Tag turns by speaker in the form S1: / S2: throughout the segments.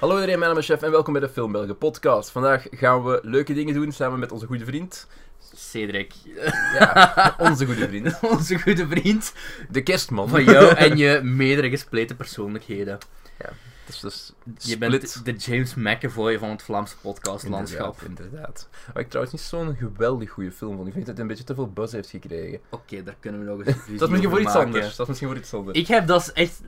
S1: Hallo iedereen, mijn naam is Chef en welkom bij de Filmbelgen podcast. Vandaag gaan we leuke dingen doen samen met onze goede vriend.
S2: Cedric,
S1: Ja, onze goede vriend.
S2: onze goede vriend
S1: De kerstman.
S2: van jou en je meerdere gespleten persoonlijkheden.
S1: Dus, dus
S2: Je
S1: split.
S2: bent de James McAvoy van het Vlaamse podcastlandschap.
S1: Inderdaad, inderdaad. Waar ik trouwens niet zo'n geweldig goede film vond. Ik vind dat het een beetje te veel buzz heeft gekregen.
S2: Oké, daar kunnen we nog eens een
S1: Dat is misschien voor
S2: over
S1: iets
S2: maken.
S1: anders. Dat is misschien voor iets anders.
S2: Ik heb, dat is echt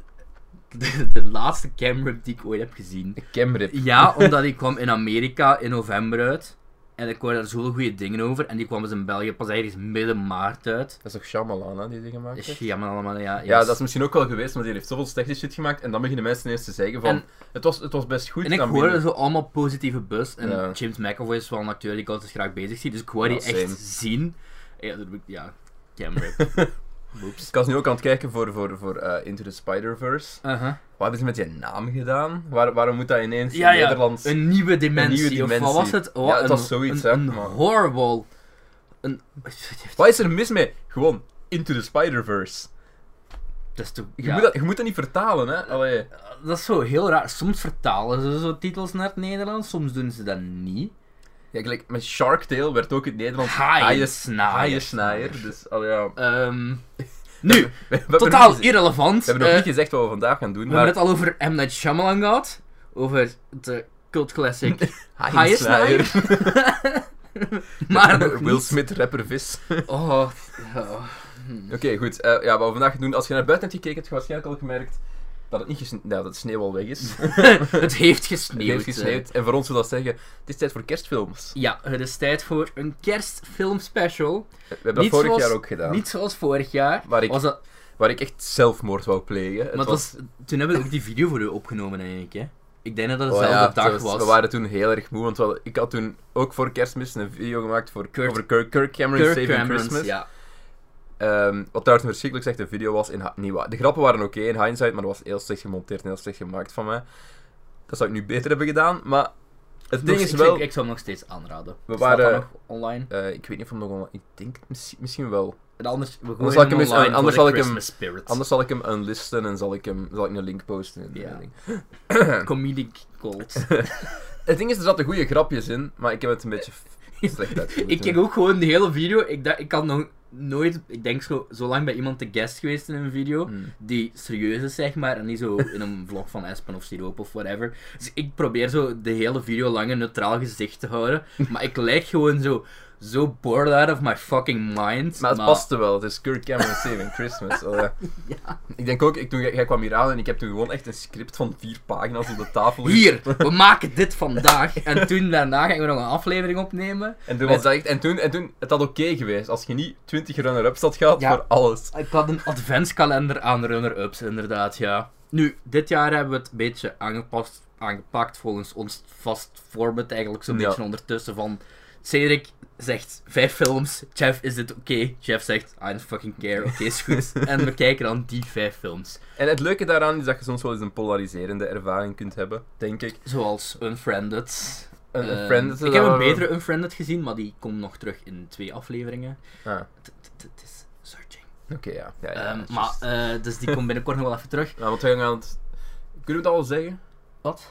S2: de, de laatste camrip die ik ooit heb gezien.
S1: Camrip.
S2: Ja, omdat ik kwam in Amerika in november uit. En ik hoorde daar zoveel goede dingen over. En die kwam dus in België pas ergens midden maart uit.
S1: Dat is toch Shyamalan hè, die die gemaakt heeft?
S2: Is jammer allemaal, ja.
S1: Ja,
S2: yes.
S1: dat is misschien ook wel geweest, maar die heeft zoveel slechte shit gemaakt. En dan beginnen mensen ineens te zeggen van,
S2: En-
S1: het, was, het was best goed.
S2: En ik
S1: dan
S2: hoorde
S1: minder.
S2: zo allemaal positieve buzz. En
S1: Ja.
S2: James McAvoy is wel een acteur die ik altijd graag bezig zie. Dus ik wou
S1: Ja,
S2: die echt
S1: same.
S2: zien. Ja, dat doe ik- ja camera. Boeps.
S1: Ik was nu ook aan het kijken voor, voor, voor eh, Into the Spider-Verse. Wat hebben ze met die naam gedaan? Waar, waarom moet dat ineens
S2: Ja,
S1: in
S2: ja,
S1: Nederlands...
S2: Een nieuwe dimensie.
S1: Een nieuwe
S2: Of wat was
S1: dimensie.
S2: het? Oh,
S1: Ja, het
S2: een,
S1: was zoiets,
S2: een,
S1: hè,
S2: Een
S1: maar-
S2: horrible... Een...
S1: Wat is er mis mee? Gewoon, Into the Spider-Verse.
S2: Dat is, toch-
S1: Je,
S2: ja.
S1: moet dat, je moet dat niet vertalen, hè? Allee.
S2: dat is zo heel raar. Soms vertalen ze zo titels naar het Nederlands, soms doen ze dat niet.
S1: Ja, gelijk, met Shark Tale werd ook in het Nederlands
S2: Haaien-
S1: haaiensnaaier.
S2: haaiensnaaier.
S1: Dus, allee, ja. We-
S2: Ehm, nu,
S1: we hebben nog
S2: totaal
S1: niet gezegd-
S2: irrelevant.
S1: We hebben nog
S2: Eh,
S1: niet gezegd wat we vandaag gaan doen,
S2: We hebben
S1: maar...
S2: het al over M. Night Shyamalan gehad. Over de cult classic
S1: haaiensnaaier.
S2: Haaiensnaaier. maar nog
S1: Will
S2: niet.
S1: Smith, rapper Vis.
S2: Oh, oh.
S1: Oké, goed. Eh, ja, wat we vandaag gaan doen... Als je naar buiten hebt gekeken, heb je waarschijnlijk al gemerkt... Dat het niet gesne- nou, dat de sneeuw al weg is.
S2: het heeft
S1: Het
S2: gesneeuwd.
S1: heeft
S2: eh.
S1: gesneeuwd. En voor ons wil dat zeggen... Het is tijd voor kerstfilms.
S2: Ja, het is tijd voor een kerstfilm special.
S1: We hebben dat
S2: Niet
S1: vorig
S2: zoals-
S1: jaar ook gedaan.
S2: Niet zoals vorig jaar.
S1: Waar ik-
S2: was dat,
S1: Waar ik echt zelfmoord wou plegen. Het
S2: maar het was... toen hebben we ook die video voor u opgenomen, denk ik. Hè? Ik denk dat het dezelfde
S1: Oh ja,
S2: dag
S1: het
S2: was.
S1: We waren toen heel erg moe, want we hadden- ik had toen ook voor kerstmis een video gemaakt voor
S2: Kurt-
S1: over Kirk, Kirk Cameron's
S2: Kirk
S1: Saving
S2: Cameron's,
S1: Christmas.
S2: ja.
S1: Ehm, wat trouwens een verschrikkelijk slechte video was. In, ha- niet waar. De grappen waren oké in hindsight, maar dat was heel slecht gemonteerd en heel slecht gemaakt van mij. Dat zou ik nu beter hebben gedaan, maar het ding
S2: Dus
S1: is
S2: ik,
S1: wel...
S2: Ik, ik zou hem nog steeds aanraden.
S1: We
S2: Staat dat
S1: waren-
S2: nog online.
S1: eh, ik weet niet of hem nog online... Ik denk het misschien, misschien wel.
S2: En anders, we gooien
S1: zal ik
S2: hem
S1: hem eens-
S2: online
S1: anders
S2: voor
S1: zal
S2: de
S1: ik hem-
S2: Christmas spirit.
S1: Anders zal ik hem unlisten en zal ik, hem, zal ik een link posten. in de
S2: Ja.
S1: ding.
S2: comedic gold.
S1: Het ding is, er zaten goede grapjes in, maar ik heb het een beetje f- slecht uitgevoerd.
S2: ik keek ook gewoon de hele video. Ik, dacht, ik had nog nooit, ik denk zo, zo lang bij iemand te guest geweest in een video.
S1: Hmm.
S2: Die serieus is, zeg maar. En niet zo in een vlog van Espen of Siroop of whatever. Dus ik probeer zo de hele video lang een neutraal gezicht te houden. Maar ik lijk gewoon zo, zo bored out of my fucking mind.
S1: Maar het paste wel, het is Kirk Cameron Saving Christmas. Oh, ja. Ik denk ook, ik, toen, jij jij kwam hier aan en ik heb toen gewoon echt een script van vier pagina's op de tafel gezet.
S2: Hier, we maken dit vandaag. En toen daarna gaan we nog een aflevering opnemen.
S1: En toen, was dat echt, en toen, en toen het had oké geweest als je niet 20 runner-ups had gehad
S2: Ja.
S1: voor alles.
S2: Ik had een adventskalender aan runner-ups, inderdaad, ja. Nu, dit jaar hebben we het een beetje aangepast, aangepakt volgens ons vast format eigenlijk zo'n
S1: Ja.
S2: beetje ondertussen van... Cedric zegt vijf films, Jeff is dit oké? Jeff zegt, I don't fucking care, oké is goed. en we kijken dan die vijf films.
S1: En het leuke daaraan is dat je soms wel eens een polariserende ervaring kunt hebben, denk ik.
S2: Zoals Unfriended.
S1: Een eh,
S2: Ehm,
S1: friend
S2: ik heb een betere Unfriended gezien, maar die komt nog terug in twee afleveringen.
S1: Ah,
S2: Het- Het het is searching.
S1: oké, ja. ja, ja
S2: Ehm,
S1: juist.
S2: maar, eh, dus die komt binnenkort nog wel even terug.
S1: Nou, want we gaan aan het... Kunnen we het al zeggen?
S2: Wat?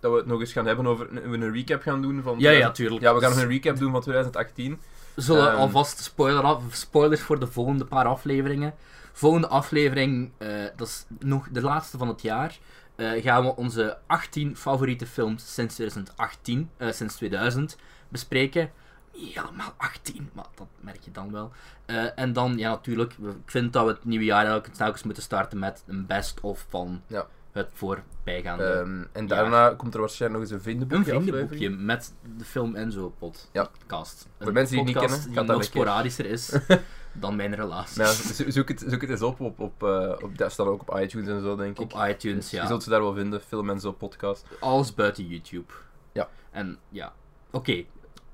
S1: Dat we het nog eens gaan hebben over... een- We een recap gaan doen van...
S2: Ja, ja, tuurlijk.
S1: Ja, we gaan nog een recap doen van 2018.
S2: zullen
S1: Ehm.
S2: alvast spoiler af, spoilers voor de volgende paar afleveringen. Volgende aflevering, eh, dat is nog de laatste van het jaar, eh, gaan we onze 18 favoriete films sinds 2018, eh, sinds 2000, bespreken. Niet helemaal 18, maar dat merk je dan wel. Eh, en dan, ja natuurlijk, we- ik vind dat we het nieuwe jaar elke telkens moeten starten met een best-of van
S1: Ja.
S2: het voorbijgaande.
S1: Ehm, en daarna komt er waarschijnlijk nog eens een vindenboekje
S2: Ah, Een
S1: aflevering.
S2: vriendenboekje met de film en zo pod-
S1: Ja.
S2: podcast.
S1: Voor mensen die het niet
S2: podcast
S1: kennen,
S2: die
S1: gaat dat
S2: nog
S1: een keer.
S2: sporadischer is dan mijn relatie.
S1: Nou, zo- zoek, het, zoek het eens op. op, op, eh, op dat staat ook op iTunes en zo, denk ik.
S2: Op iTunes,
S1: Je
S2: ja.
S1: zult ze daar wel vinden, film en zo, podcast.
S2: Alles buiten YouTube.
S1: Ja.
S2: En ja, oké.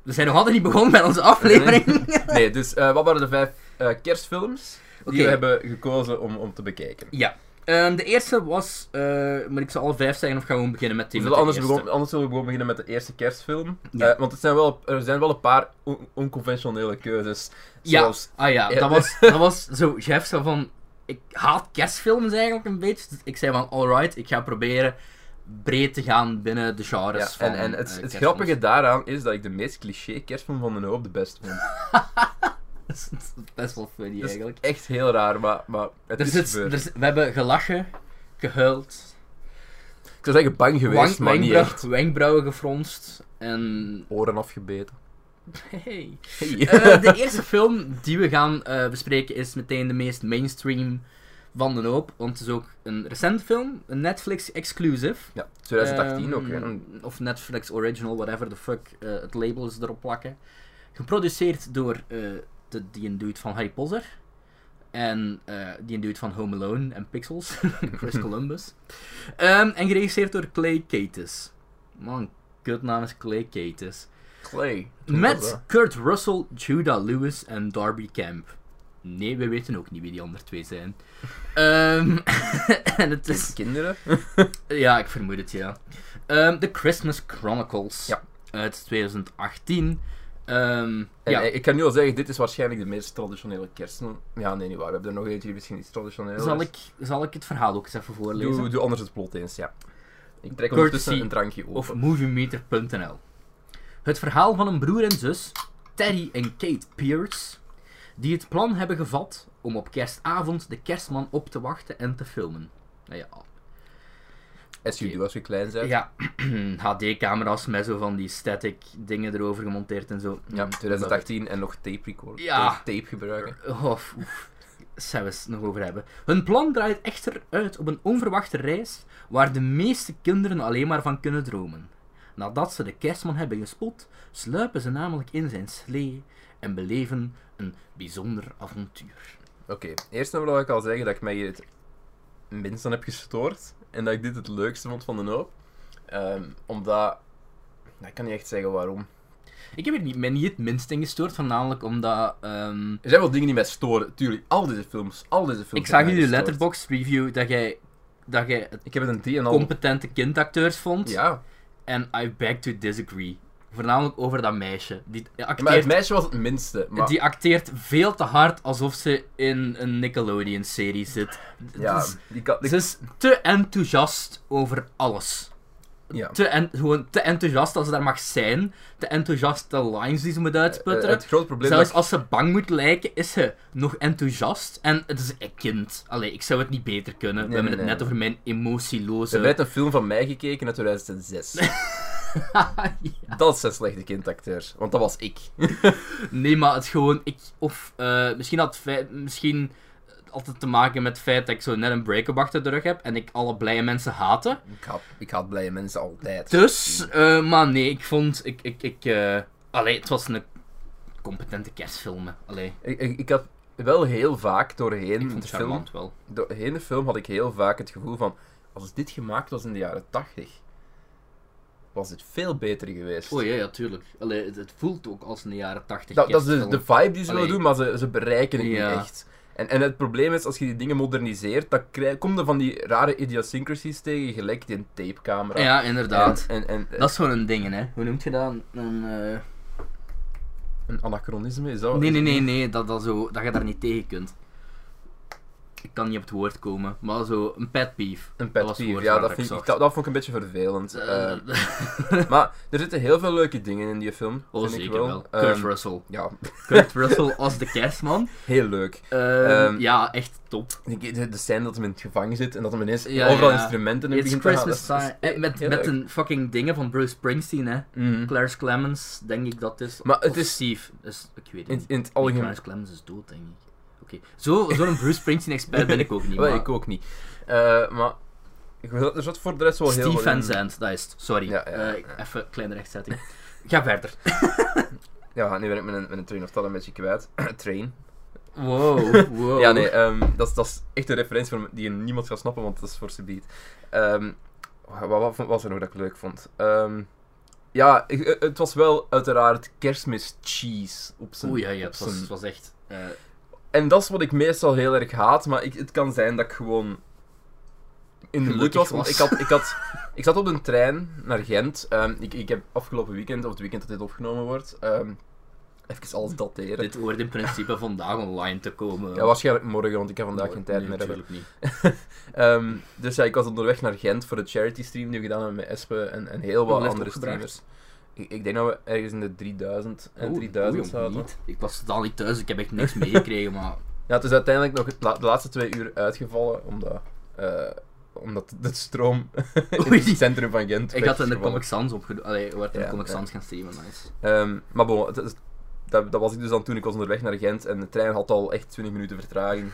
S2: We zijn nog altijd niet begonnen met onze aflevering.
S1: Nee, dus eh, wat waren de vijf eh, kerstfilms
S2: Oké.
S1: die we hebben gekozen om, om te bekijken?
S2: Ja. Ehm, de eerste was, eh, moet ik ze alle vijf zeggen of gaan we gewoon beginnen met
S1: We
S2: die
S1: zullen anders,
S2: begonnen.
S1: begon, anders zullen we gewoon beginnen met de eerste kerstfilm.
S2: Ja.
S1: Eh, want het zijn wel, er zijn wel een paar on- onconventionele keuzes.
S2: Ja.
S1: Zoals,
S2: Ah ja,
S1: Ja.
S2: dat was, dat was zo, Jeff zei van, ik haat kerstfilms eigenlijk een beetje. Dus ik zei van, alright, ik ga proberen breed te gaan binnen de genres
S1: Ja,
S2: van
S1: en, en het, het
S2: eh, kerstfilms.
S1: grappige daaraan is dat ik de meest cliché kerstfilm van de hoop de beste vond.
S2: Dat is- dat is Best wel funny
S1: Dus-
S2: eigenlijk.
S1: Echt heel raar, maar, maar het
S2: Er
S1: is
S2: zit,
S1: gebeurd.
S2: er zit- we hebben gelachen, gehuild,
S1: Ik zou zeggen bang geweest,
S2: wang-
S1: maar niet
S2: wenkbrauw-
S1: echt.
S2: wenkbrauwen gefronst en...
S1: Oren afgebeten.
S2: Hey.
S1: Hey.
S2: Eh, de eerste film die we gaan eh, bespreken is meteen de meest mainstream van de hoop. Want het is ook een recente film, een Netflix-exclusive.
S1: ja, 2018 ook.
S2: Ehm,
S1: hè.
S2: Of Netflix Original, whatever the fuck eh, het label is erop plakken. Geproduceerd door eh, de, die een dude van Harry Potter. En eh, die een dude van Home Alone en Pixels. Chris Columbus. Ehm, en geregisseerd door Clay Cates. Man, kutnaam is Clay Cates.
S1: Clay.
S2: Met Kurt Russell, Judah Lewis en Darby Camp. Nee, we weten ook niet wie die andere twee zijn. Ehm, en het is...
S1: Kinderen?
S2: Ja, ik vermoed het, ja. Ehm, The Christmas Chronicles.
S1: Ja.
S2: Uit 2018. Ehm,
S1: En
S2: ja,
S1: eh, ik kan nu al zeggen, dit is waarschijnlijk de meest traditionele kerstfilm. Ja, nee, niet waar. We hebben er nog eentje die misschien iets traditioneel
S2: zal
S1: is.
S2: ik, zal ik het verhaal ook eens even voorlezen?
S1: Doe, doe anders het plot eens, ja. Ik trek
S2: Courtesy
S1: ondertussen een drankje open.
S2: of moviemeter.nl. Het verhaal van een broer en zus, Terry en Kate Pierce, die het plan hebben gevat om op kerstavond de kerstman op te wachten en te filmen. Nou ja,
S1: As you do als je klein bent.
S2: ja HD-camera's met zo van die static dingen erover gemonteerd en zo.
S1: Ja,
S2: Mm,
S1: 2018 en nog tape record.
S2: Ja.
S1: Tape, tape gebruiken.
S2: Oh, f- oef. Zullen we het nog over hebben. Hun plan draait echter uit op een onverwachte reis waar de meeste kinderen alleen maar van kunnen dromen. Nadat ze de kerstman hebben gespot, sluipen ze namelijk in zijn slee en beleven een bijzonder avontuur.
S1: Oké, eerst en vooral wil ik al zeggen dat ik mij hier het minst aan heb gestoord. En dat ik dit het leukste vond van de hoop. Ehm, omdat... nou, Ik kan niet echt zeggen waarom.
S2: Ik heb er niet, mij niet het minst in gestoord, voornamelijk omdat... ehm,
S1: Er zijn wel dingen die mij storen. Tuurlijk, al deze films. Al deze films
S2: ik zag in
S1: hebben
S2: je
S1: mij gestoord.
S2: letterbox review dat jij, dat jij het
S1: Ik heb het een 3,5.
S2: competente kindacteurs vond.
S1: Ja,
S2: En I beg to disagree. Voornamelijk over dat meisje. Die
S1: maar het
S2: acteert
S1: meisje was het minste. Maar...
S2: Die acteert veel te hard alsof ze in een Nickelodeon-serie zit.
S1: Ja,
S2: Dus
S1: die kan... die-
S2: ze is te enthousiast over alles.
S1: ja.
S2: Te en, gewoon te enthousiast als ze daar mag zijn. Te enthousiast de lines die ze moet
S1: Eh,
S2: uitsputteren.
S1: het grote probleem
S2: Zelfs
S1: dat
S2: als ze bang moet lijken, is ze nog enthousiast. En het is een kind. Allee, ik zou het niet beter kunnen. We
S1: Nee,
S2: hebben
S1: nee,
S2: het net
S1: nee.
S2: over mijn emotieloze...
S1: Ze hebben net een film van mij gekeken uit 2006.
S2: Ja.
S1: dat zijn slechte kindacteurs. Want dat was ik.
S2: Nee, maar het gewoon. Ik, of eh, misschien had het feit, misschien had het te maken met het feit dat ik zo net een break-up achter de rug heb en ik alle blije mensen haatte.
S1: ik, haat, ik haat blije mensen altijd.
S2: Dus, eh, maar nee, ik vond. Ik, ik, ik, eh, allee, het was een competente kerstfilm. hè. Allee,
S1: Ik, ik, ik had wel heel vaak doorheen
S2: ik vond
S1: de
S2: het
S1: film...
S2: charmant wel.
S1: Doorheen de film had ik heel vaak het gevoel van... Als dit gemaakt was in de jaren 80... Was dit veel beter geweest.
S2: Oh ja, ja, tuurlijk. Allee, het, het voelt ook als een jaren tachtig.
S1: Dat, dat is de, de vibe die ze willen
S2: Allee.
S1: doen, maar ze, ze bereiken het
S2: Ja.
S1: niet echt. En, en het probleem is, als je die dingen moderniseert, dan krijg, kom je van die rare idiosyncrasies tegen, gelijk die tapecamera.
S2: Ja, inderdaad.
S1: En, en, en-
S2: Dat is gewoon een ding, hè? Hoe noemt je dat? Een, eh,
S1: een anachronisme is dat?
S2: Nee,
S1: Oh, is-
S2: nee, nee, nee, dat, dat, zo, dat je daar niet tegen kunt. Ik kan niet op het woord komen, maar zo een pet peeve.
S1: Een
S2: Dat
S1: pet
S2: was het
S1: peeve.
S2: woord
S1: Ja,
S2: waar
S1: dat,
S2: ik
S1: vind ik,
S2: zocht.
S1: dat, dat vond ik een beetje vervelend.
S2: Eh,
S1: Eh, maar er zitten heel veel leuke dingen in die film.
S2: oh,
S1: vind
S2: zeker
S1: ik wel.
S2: wel. Kurt
S1: Ehm,
S2: Russell.
S1: ja,
S2: Kurt Russell als de kerstman.
S1: heel leuk.
S2: Ehm,
S1: Ehm,
S2: ja, echt top.
S1: De, de, de scène dat hem in het gevangen zit en dat hem ineens
S2: Ja,
S1: overal
S2: ja.
S1: instrumenten in
S2: It's
S1: begint te halen.
S2: Christmas
S1: dat is-
S2: time. Mm. Eh, Met,
S1: heel
S2: met
S1: leuk.
S2: een fucking dingen van Bruce Springsteen, hè.
S1: Mhm.
S2: Clarence Clemens, denk ik dat is.
S1: Maar het
S2: Of
S1: is-
S2: Steve. Dus, ik weet het
S1: In,
S2: niet.
S1: in het
S2: Nee,
S1: algemeen...
S2: Clarence Clemens is dood, denk ik. Oké, zo zo'n Bruce Springsteen-expert ben ik ook niet.
S1: Wel,
S2: maar
S1: ik ook niet. Eh, maar ik wil- er zat voor de rest wel heel
S2: Steve
S1: veel in.
S2: Van Zandt, dat is het. Sorry.
S1: Ja, ja, ja.
S2: Eh, even kleine rechtzetting. Ga verder.
S1: Ja, nu ben ik mijn, mijn train of thought een beetje kwijt. train.
S2: Wow, wow.
S1: Ja, nee, ehm, dat, is, dat is echt een referentie voor, die niemand gaat snappen, want dat is voor subiet. Ehm wat, wat, vond- was er nog dat ik leuk vond? Ehm, ja, ik- eh, het was wel uiteraard kerstmis cheese op zijn...
S2: Oeh, ja, ja,
S1: op
S2: het was,
S1: zijn-
S2: het was echt... eh,
S1: En dat is wat ik meestal heel erg haat, maar ik, het kan zijn dat ik gewoon in de moed
S2: Gelukkig
S1: was. Want ik,
S2: was.
S1: had, ik, had, ik zat op een trein naar Gent. Ehm, ik, ik heb afgelopen weekend, of het weekend dat dit opgenomen wordt, ehm, even alles dateren.
S2: Dit hoort in principe vandaag online te komen.
S1: Ja, waarschijnlijk morgen, want ik heb vandaag geen tijd
S2: Nee,
S1: meer hebben.
S2: natuurlijk niet.
S1: Ehm, dus ja, ik was onderweg naar Gent voor de charity stream die we gedaan hebben met Espe en, en heel wat
S2: Hoeveel heeft
S1: andere
S2: het opgebracht?
S1: streamers. Ik, ik denk dat we ergens in de 3000 en
S2: Oeh,
S1: 3000
S2: oei,
S1: zaten.
S2: niet. Ik was totaal niet thuis, ik heb echt niks meegekregen, maar
S1: Ja, het is uiteindelijk nog het la- de laatste twee uur uitgevallen, omdat, eh, omdat de stroom in
S2: Oei.
S1: het centrum van Gent
S2: ik
S1: weg
S2: had
S1: is
S2: in de
S1: gevallen.
S2: Comic Sans opgedoen. Allee, werd in
S1: Ja,
S2: de Comic
S1: ja.
S2: Sans gaan streamen, nice.
S1: Ehm, maar bon, het is- dat, dat was ik dus dan toen ik was onderweg naar Gent en de trein had al echt 20 minuten vertraging.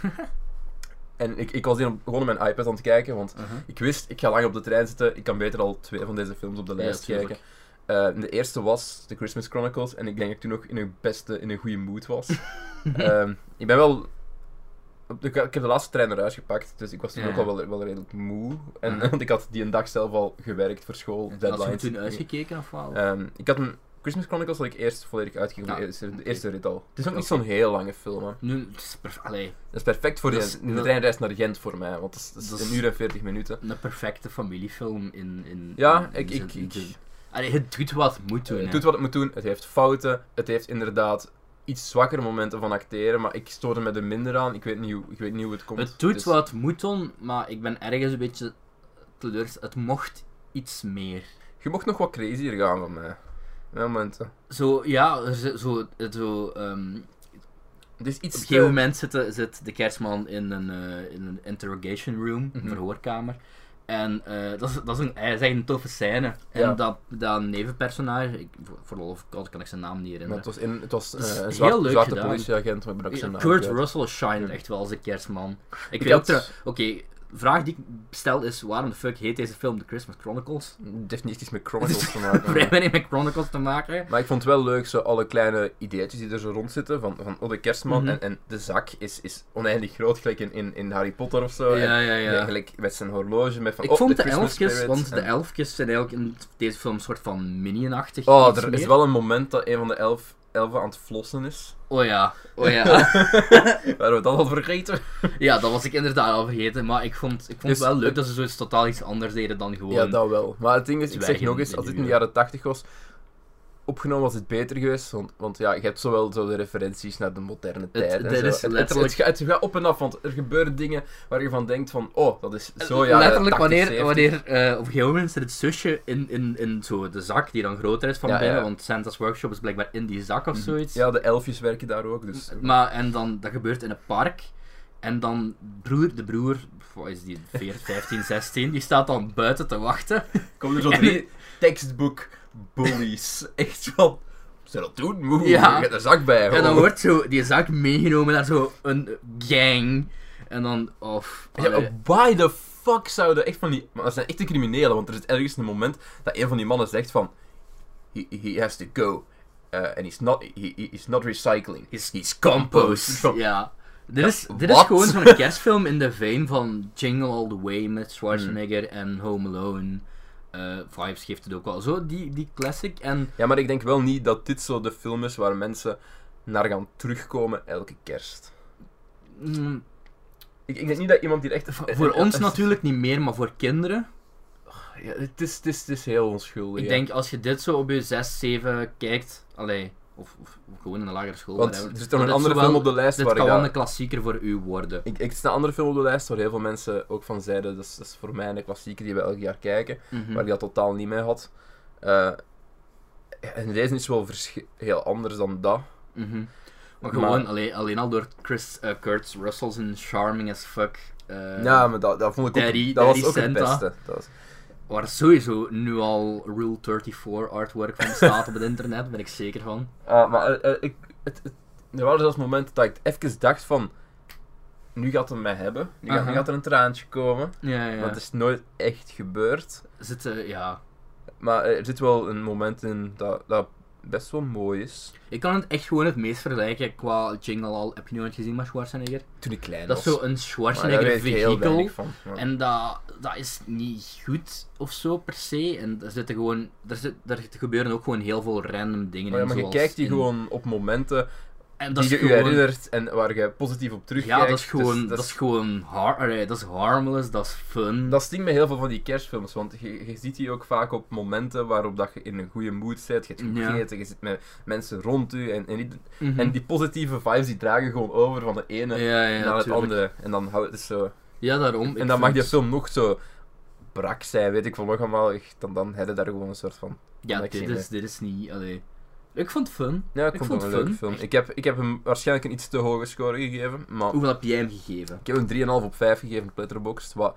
S1: en ik, ik was hier op- gewoon op mijn iPad aan het kijken, want
S2: Uh-huh.
S1: ik wist, ik ga lang op de trein zitten, ik kan beter al twee van deze films op de lijst
S2: tuurlijk.
S1: kijken. Eh, de eerste was The Christmas Chronicles en ik denk dat ik toen nog in een beste, in een goede mood was. Ehm, ik ben wel... op de- Ik heb de laatste trein naar huis gepakt, dus ik was toen
S2: Ja.
S1: ook al wel, wel redelijk moe. En,
S2: Mhm.
S1: Want ik had die een dag zelf al gewerkt voor school,
S2: Had je
S1: deadlines.
S2: toen uitgekeken of wel?
S1: Ehm, ik had een Christmas Chronicles had ik eerst volledig uitgegeven,
S2: Ja,
S1: de, eerste, de
S2: oké.
S1: eerste rit al. Het is ook niet
S2: Oké.
S1: zo'n heel lange film, hè.
S2: Nu, het is perf- allee,
S1: Dat is perfect voor
S2: Dat
S1: de-
S2: is-
S1: de
S2: dat-
S1: treinreis naar Gent voor mij, want dat is, dat is
S2: Dat is-
S1: een uur en 40 minuten.
S2: een perfecte familiefilm in... in
S1: Ja,
S2: in-
S1: ik-
S2: in-
S1: ik-
S2: in-
S1: ik-
S2: in- Allee, het doet wat het moet doen,
S1: Eh,
S2: hè.
S1: het doet wat het moet doen, het heeft fouten, het heeft inderdaad iets zwakkere momenten van acteren, maar ik stoorde me er minder aan, ik weet niet hoe, ik weet niet hoe het komt.
S2: Het doet
S1: Dus-
S2: wat het moet doen, maar ik ben ergens een beetje teleurgesteld. Het mocht iets meer.
S1: Je mocht nog wat crazier gaan van mij. Ja, momenten.
S2: Zo, ja, er zit zo... zo ehm,
S1: Het is
S2: Op
S1: iets
S2: een gegeven
S1: te-
S2: moment zit de, zit de kerstman in een, eh, in een interrogation room,
S1: Mhm.
S2: een verhoorkamer. En eh, dat, is, dat, is een, hij is echt een toffe scène.
S1: Ja.
S2: En dat, dat nevenpersonage, ik, voor- voor lol of God kan ik zijn naam niet
S1: Maar
S2: herinneren.
S1: het was, in, het was eh,
S2: is
S1: een
S2: heel
S1: zwarte,
S2: leuk
S1: zwarte
S2: gedaan.
S1: politieagent, maar ik ben ook zijn naam
S2: Kurt
S1: kwijt.
S2: Russell shined
S1: Ja.
S2: echt wel als de kerstman. Ik,
S1: Ik
S2: weet
S1: had-
S2: ook trouw- Oké, vraag die ik stel is, waarom de fuck heet deze film The Christmas Chronicles?
S1: Het heeft niet iets met Chronicles te maken.
S2: Vrij weinig met Chronicles te maken.
S1: Maar ik vond het wel leuk, zo alle kleine ideetjes die er zo rond zitten. Van, van oh, de kerstman
S2: Mhm.
S1: en, en de zak is, is oneindig groot, gelijk in, in, in Harry Potter of zo. En
S2: Ja, ja, ja.
S1: Eigenlijk met zijn horloge, met van
S2: Ik
S1: oh,
S2: vond
S1: de
S2: de,
S1: Christmas
S2: elfjes,
S1: spirit
S2: want de
S1: en-
S2: elfjes zijn eigenlijk in deze film een soort van minion-achtig.
S1: Oh,
S2: iets
S1: er
S2: meer.
S1: is wel een moment dat een van de elf, elfen aan het flossen is.
S2: Oh ja, oh ja.
S1: Waar we dat al vergeten.
S2: ja, dat was ik inderdaad al vergeten. Maar ik vond, ik vond
S1: Dus-
S2: het wel leuk dat ze zoiets totaal iets anders deden dan gewoon.
S1: Ja, dat wel. Maar het ding is, ik zeg
S2: Zwijgen
S1: nog eens,
S2: in
S1: als dit
S2: uren.
S1: in de jaren 80 was, opgenomen was het beter geweest. Want, want ja, je hebt zowel zo de referenties naar de moderne tijd. en
S2: dit
S1: zo.
S2: is
S1: het, het,
S2: letterlijk-
S1: het, gaat- het gaat op en af, want er gebeuren dingen waar je van denkt van, oh, dat is zo ja.
S2: Eh, Letterlijk wanneer, wanneer eh, op een gegeven moment zit het zusje in, in, in zo de zak die dan groter is van
S1: Ja,
S2: binnen,
S1: ja.
S2: want Santa's Workshop is blijkbaar in die zak of zoiets.
S1: Ja, de elfjes werken daar ook, dus...
S2: Maar, en dan, dat gebeurt in een park. En dan broer, de broer, wat is die, 14, 15, 16, die staat dan buiten te wachten.
S1: Komen er zo
S2: En-
S1: drie textbook bullies. Echt wel... Ze dat doen? Moe,
S2: Ja.
S1: je hebt een zak bij.
S2: En dan
S1: hoor.
S2: wordt zo die zak meegenomen naar zo'n gang. En dan, of...
S1: Ja, maar why the fuck zouden echt van die... Maar dat zijn echte criminelen, want er is ergens een moment dat een van die mannen zegt van... He, he has to go. eh, and he's not, he, he- he's not recycling.
S2: He's-
S1: he's compost. Van-
S2: Ja. Dit is, dit is
S1: wat?
S2: gewoon zo'n kerstfilm in de vein van Jingle All The Way met Schwarzenegger
S1: Hmm.
S2: en Home Alone. Eh, vibes geeft het ook wel. Zo, die, die classic. En
S1: Ja, maar ik denk wel niet dat dit zo de film is waar mensen naar gaan terugkomen elke kerst.
S2: mm,
S1: Ik, ik denk niet dat iemand hier echt...
S2: voor
S1: eh, eh,
S2: ons
S1: eh,
S2: natuurlijk niet meer, maar voor kinderen.
S1: Ja, het, is, het, is, het is heel onschuldig.
S2: Ik
S1: ja.
S2: denk als je dit zo op je 6, 7 kijkt. Allee, of, of gewoon in de lagere school.
S1: Want
S2: whatever.
S1: er zit nog een
S2: dit
S1: andere
S2: zo
S1: film
S2: wel-
S1: op de lijst
S2: Dit
S1: waar ik
S2: kan wel
S1: daar-
S2: een klassieker voor u worden.
S1: Ik, ik sta een andere film op de lijst waar heel veel mensen ook van zeiden dat is, dat is voor mij een klassieker die we elk jaar kijken.
S2: Mhm.
S1: waar ik dat totaal niet mee had. Eh, en deze is wel verschi- heel anders dan dat.
S2: Mhm. Maar
S1: Maar-
S2: gewoon, Alleen, alleen al door Chris, eh, Kurt Russell zijn charming as fuck. eh,
S1: ja, maar dat, dat vond ik
S2: Daddy-
S1: ook, dat was
S2: Daddy
S1: ook het
S2: Santa.
S1: beste. Dat was-
S2: Waar sowieso nu al Rule 34 artwork van staat op het internet, ben ik zeker van.
S1: Ah, maar eh, eh, ik, het, het- er waren zelfs momenten dat ik even dacht van... Nu gaat het mij hebben. Nu gaat,
S2: Aha.
S1: nu gaat er een traantje komen.
S2: Ja, ja.
S1: Want het is nooit echt gebeurd.
S2: Zit, eh, ja.
S1: Maar eh, er zit wel een moment in dat, dat best wel mooi is.
S2: Ik kan het echt gewoon het meest vergelijken qua Jingle All. Heb je nooit gezien met Schwarzenegger?
S1: Toen ik klein
S2: Dat
S1: was.
S2: is zo'n
S1: maar daar
S2: Schwarzenegger
S1: weet ik heel
S2: vehikel.
S1: weinig van. maar-
S2: En dat, dat is niet goed of zo per se. En er zitten gewoon, er, zit, er gebeuren ook gewoon heel veel random dingen
S1: Maar, ja,
S2: in.
S1: maar je
S2: zoals
S1: kijkt die
S2: in-
S1: gewoon op momenten
S2: En dat
S1: die
S2: is
S1: je u
S2: gewoon...
S1: herinnert en waar je positief op terugkijkt.
S2: Ja, dat is gewoon,
S1: Dus
S2: dat is gewoon har allee, dat is harmless, dat is fun.
S1: Dat stinkt met heel veel van die kerstfilms, want je, je ziet die ook vaak op momenten waarop dat je in een goede mood zit, je hebt
S2: Ja.
S1: gegeten, je zit met mensen rond u en, en, die,
S2: Mhm.
S1: en die positieve vibes die dragen gewoon over van de ene
S2: ja, ja,
S1: naar het
S2: tuurlijk.
S1: andere. En dan houdt het zo.
S2: Ja, daarom. ik
S1: en dan mag
S2: vind-
S1: die film nog zo brak zijn, weet ik van nog allemaal, echt, dan, dan heb je daar gewoon een soort van...
S2: Ja,
S1: dat ik
S2: dit
S1: zie,
S2: is, dit is niet... Allee. Ik vond het fun.
S1: Ja, ik,
S2: Ik
S1: vond
S2: vond
S1: het wel
S2: het
S1: een leuke
S2: fun.
S1: film. Ik heb, ik heb hem waarschijnlijk een iets te hoge score gegeven, maar...
S2: Hoeveel heb jij hem gegeven?
S1: Ik heb hem 3,5 op 5 gegeven op Letterboxd, wat...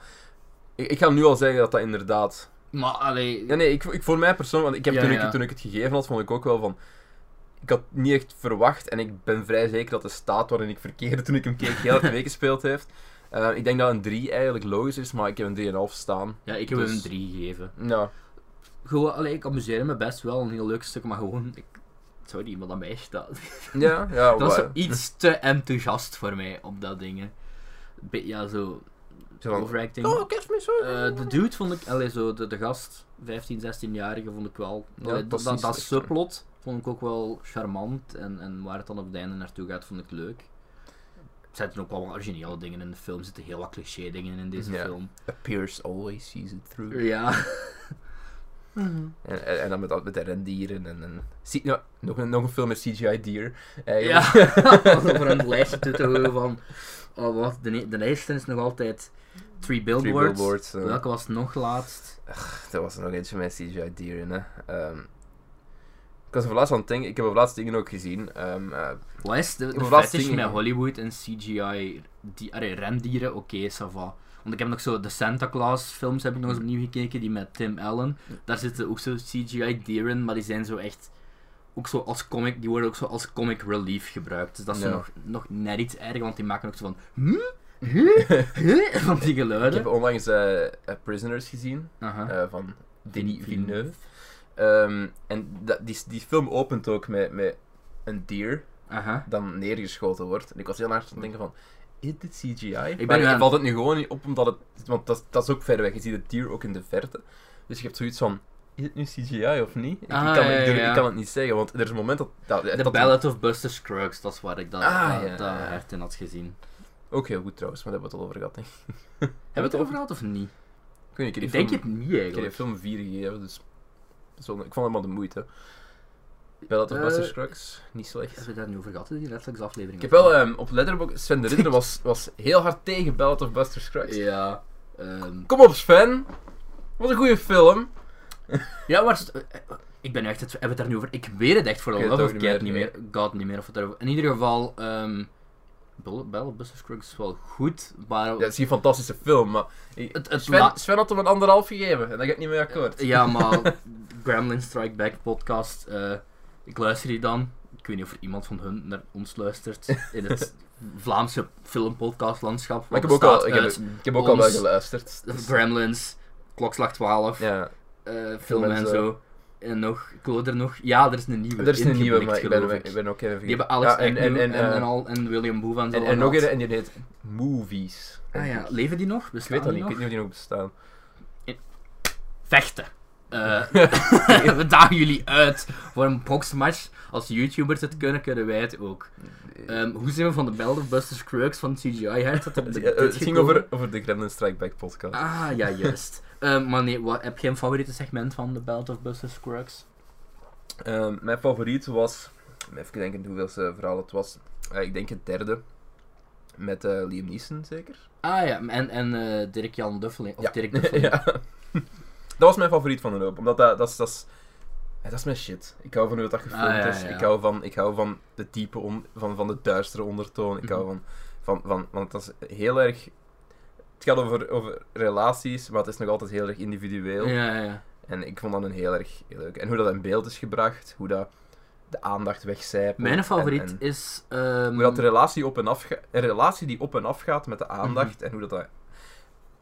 S1: Ik, ik ga nu al zeggen dat dat inderdaad
S2: Maar, allee...
S1: Ja, nee, ik, ik, voor mij persoonlijk, want ik heb
S2: Ja,
S1: toen,
S2: ja.
S1: Ik, toen ik het gegeven had, vond ik ook wel van. Ik had niet echt verwacht en ik ben vrij zeker dat de staat waarin ik verkeerde toen ik hem keek heel hard meegespeeld heeft. Eh, ik denk dat een 3 eigenlijk logisch is, maar ik heb een 3,5 staan.
S2: Ja, ik heb
S1: Dus-
S2: hem een 3 gegeven.
S1: Ja,
S2: Gewoon, allee, ik amuseer me best wel, een heel leuk stuk, maar gewoon... Ik... Sorry, maar dat meisje dat...
S1: ja, ja.
S2: Dat was
S1: wa-
S2: zo iets te enthousiast voor mij op dat ding. hè. Be- ja, zo...
S1: Zo van,
S2: Overacting.
S1: Oh, kerstmis, hoor.
S2: Eh, de dude vond ik, allee, zo, de, de gast, 15, 16-jarige, vond ik wel.
S1: Ja,
S2: allee,
S1: dat
S2: dat
S1: is
S2: dat,
S1: niet
S2: dat
S1: slecht, hoor.
S2: subplot vond ik ook wel charmant en, en waar het dan op het einde naartoe gaat, vond ik leuk. Er zitten ook wel wat originele dingen in de film, er zitten heel wat cliché dingen in deze
S1: Ja.
S2: film.
S1: Appears always sees it through.
S2: Ja.
S1: En, en, en dan met, dat- met de rendieren en. en zie- ja, nog, een, nog een film met CGI Deer. Eh,
S2: ja.
S1: eigenlijk.
S2: Over een lijstje toe te houden van, oh wat, de, ne- de lijst is nog altijd Three Billboards.
S1: Three billboards. eh.
S2: Welke was nog laatst?
S1: Er was er nog eentje met CGI dier in, hè. Ehm, ik was over laatst aan het denken, ik heb over laatst dingen ook gezien. Ehm, eh,
S2: Wat is de, de
S1: Hoe laat
S2: fetish
S1: dingen-
S2: met Hollywood en CGI? Die, arre, rendieren, oké, ça va. Want ik heb nog zo de Santa Claus films heb ik nog eens opnieuw gekeken, die met Tim Allen. Daar zitten ook zo CGI dieren, maar die zijn zo echt ook zo als comic, die worden ook zo als comic relief gebruikt. Dus dat is zo
S1: Ja.
S2: nog, nog net iets erger, want die maken ook zo van hm? Huh? Huh? van die
S1: ik heb
S2: geluiden. Ah.
S1: onlangs eh, eh, Prisoners gezien,
S2: Aha.
S1: eh, van Denis Villeneuve. Ehm, en dat, die, die film opent ook met, met een dier
S2: Aha.
S1: dat neergeschoten wordt. En ik was heel hard aan het denken van, is dit CGI? Ik
S2: ben
S1: maar
S2: aan-
S1: ik valt het nu gewoon niet op, omdat het, want dat, dat is ook ver weg. Je ziet het dier ook in de verte. Dus je hebt zoiets van, is het nu CGI of niet? Ik,
S2: Ah,
S1: ik, kan,
S2: ja,
S1: ik, durf-
S2: ja, ja.
S1: ik kan het niet zeggen, want er is een moment dat... dat,
S2: The
S1: dat-
S2: Ballad of Buster Scruggs, dat is waar ik dat,
S1: Ah,
S2: dat,
S1: ja,
S2: dat
S1: ja.
S2: hert in had gezien.
S1: Ook heel goed trouwens, maar daar hebben we het al over gehad, denk ik.
S2: Hebben we het erover gehad of niet?
S1: Ik weet niet,
S2: Ik
S1: ik
S2: denk
S1: heb die
S2: het niet
S1: film- ik heb
S2: eigenlijk.
S1: die film 4 gegeven, dus... zo- ik vond helemaal de moeite. Wel dat
S2: Eh,
S1: of Buster Scruggs, niet
S2: Hebben
S1: slecht.
S2: we daar nu over gehad, die Netflix aflevering?
S1: Ik heb wel ehm, op Letterboxd, Sven de Ridder was, was heel hard tegen Ballad of Buster Scruggs.
S2: Ja. ehm,
S1: Kom op Sven, wat een goede film.
S2: ja, maar... eh, eh, Ik ben nu echt... het- Hebben we het daar nu over? Ik weet het echt voor de
S1: Ik weet
S2: love
S1: het
S2: of
S1: ook
S2: God
S1: niet
S2: niet
S1: meer,
S2: meer. God niet meer. Of het er, in ieder geval... ehm Bull- Bell of Buster Scruggs is wel goed, maar...
S1: Ja, het is een fantastische film, maar...
S2: het, het la-
S1: Sven, Sven had hem een anderhalf gegeven, en daar ga ik niet mee akkoord.
S2: Ja, maar... Gremlin Strike Back podcast. eh, ik luister die dan. Ik weet niet of er iemand van hun naar ons luistert. In het Vlaamse filmpodcastlandschap.
S1: Maar ik heb
S2: wat
S1: ook al,
S2: bestaat
S1: ik heb,
S2: uit
S1: ik heb ook al wel
S2: ons-
S1: geluisterd. dus-
S2: Gremlins, Klokslag 12.
S1: ja,
S2: eh
S1: Film
S2: film
S1: en
S2: en
S1: zo.
S2: zo. En nog, ik wil er nog. Ja, er is een nieuwe.
S1: er is een nieuwe,
S2: ingeblikt,
S1: maar ik
S2: geloof
S1: ben, ik ben ook even...
S2: Die hebben Alex
S1: ja, en, en, en,
S2: en,
S1: eh,
S2: al, en William Boeve en zo.
S1: En, en nog
S2: allemaal.
S1: een, en die heet Movies.
S2: Ah ja, leven die nog?
S1: Ik
S2: Bestaan
S1: weet dat niet,
S2: die
S1: ik weet
S2: nog?
S1: niet of die nog bestaan.
S2: Vechten. Eh, we dagen jullie uit voor een boxmatch. Als YouTubers het kunnen, kunnen wij het ook. Ehm, hoe zijn we van de Bell of Buster Scruggs van CGI Hert? tot op dit-
S1: Eh, eh,
S2: dit
S1: het ging
S2: gekomen?
S1: over, over de Gremlin Strike Back podcast.
S2: Ah, ja, juist. Ehm, maar nee, wat, heb jij een favoriete segment van de Bell of Buster Scruggs?
S1: Ehm, mijn favoriet was, even denken hoeveelste verhaal het was. Eh, ik denk het derde. Met eh, Liam Neeson zeker.
S2: Ah ja, en, en eh, Dirk-Jan Duffeling. Of
S1: Ja.
S2: Dirk Duffeling.
S1: ja. Dat was mijn favoriet van een hoop. Omdat dat, dat, is, dat, is, eh, dat is mijn shit. Ik hou van hoe dat gefilmd
S2: Ah, ja,
S1: is.
S2: ja.
S1: Ik hou van, ik hou van de diepe, on- van, van de duistere ondertoon.
S2: Mhm.
S1: Ik hou van, van, van, want dat is heel erg... Het gaat over, over relaties, maar het is nog altijd heel erg individueel.
S2: Ja, ja, ja.
S1: En ik vond dat een heel erg heel leuk. En hoe dat in beeld is gebracht, hoe dat de aandacht wegcijpelt.
S2: Mijn
S1: en-
S2: favoriet
S1: en
S2: is. ehm,
S1: hoe dat de relatie op en af ga- een relatie die op en af gaat met de aandacht en hoe dat, dat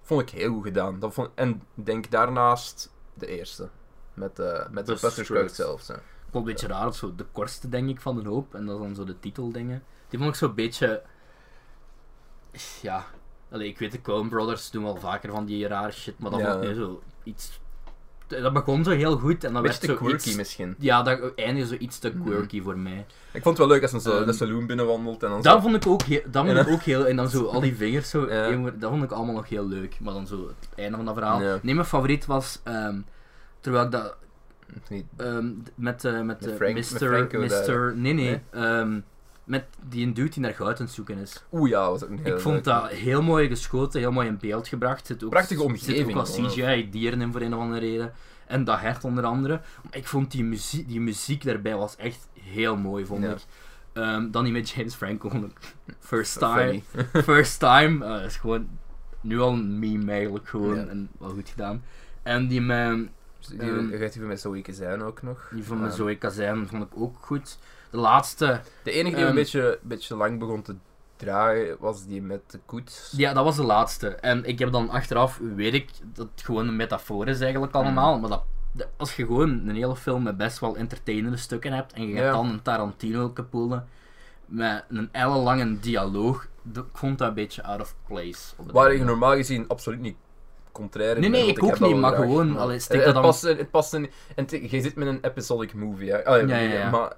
S1: vond ik heel goed gedaan. Dat vond, en ik denk daarnaast de eerste. Met, eh met de
S2: Buster
S1: Buster
S2: Scruggs.
S1: Scruggs zelf. hè.
S2: Ik vond het een beetje raar, of zo de kortste denk ik van de hoop. En dat is dan zo de titeldingen. Die vond ik zo'n beetje. Ja. Allee, ik weet de Coen Brothers doen wel vaker van die rare shit, maar dat
S1: Ja.
S2: vond ik nu zo iets dat begon zo heel goed en dan werd
S1: beetje te
S2: zo
S1: quirky Mm.
S2: iets...
S1: misschien.
S2: Ja, dat eindigde zo iets te quirky voor mij.
S1: Ik vond het wel leuk als hij zo
S2: Ehm,
S1: de saloon binnenwandelt en dan
S2: Dat
S1: zo...
S2: vond ik ook, heel, dat vond
S1: Ja.
S2: ik ook heel... En dan zo al die vingers zo...
S1: Ja.
S2: één voor- Dat vond ik allemaal nog heel leuk. Maar dan zo het einde van dat verhaal.
S1: Ja.
S2: Nee, mijn favoriet was... ehm, terwijl ik dat...
S1: Nee,
S2: ehm, d- met eh, met,
S1: Met
S2: eh,
S1: Frank- met
S2: Mr...
S1: Franco
S2: Mr...
S1: daar.
S2: Nee, nee.
S1: Nee?
S2: ehm, met die een dude die naar goud aan het zoeken is.
S1: Oeh ja, was ook een heel
S2: ik vond
S1: leuk.
S2: dat heel mooi geschoten, heel mooi in beeld gebracht. Zit ook,
S1: Prachtige
S2: Zit ook
S1: omgeving,
S2: wat CGI-dieren in voor een of andere reden. En dat hert onder andere. Maar ik vond die muziek, die muziek daarbij was echt heel mooi, vond
S1: Ja.
S2: ik. Ehm, dan die met James Franco. vond ik First time.
S1: Funny.
S2: First time. eh, is gewoon nu al een meme eigenlijk gewoon.
S1: Ja.
S2: En wel goed gedaan. En die, met,
S1: Die
S2: Ehm,
S1: gaat even met Zoe zijn ook eh, nog.
S2: die van mijn
S1: Ja.
S2: Zoe Kazijn vond ik ook goed. De laatste,
S1: De enige die een
S2: Ehm,
S1: beetje, beetje lang begon te draaien was die met de koets.
S2: Ja, dat was de laatste. En ik heb dan achteraf, weet ik, dat het gewoon een metafoor is eigenlijk
S1: Hmm.
S2: allemaal. Maar dat, dat- als je gewoon een hele film met best wel entertainende stukken hebt en je
S1: Ja.
S2: hebt dan een Tarantino kapoelen met een ellenlange dialoog, dat, ik vond dat een beetje out of place. op het
S1: Waar
S2: einde.
S1: ik normaal gezien absoluut niet contrair in
S2: Nee,
S1: ben,
S2: nee,
S1: want
S2: ik ook
S1: heb dat
S2: niet,
S1: wel
S2: maar gewoon, allee, stik
S1: Eh, het, het
S2: dat dan-
S1: past, het past in, en het- je zit met een episodic movie, hè. Ah, ja,
S2: Ja, ja, ja.
S1: maar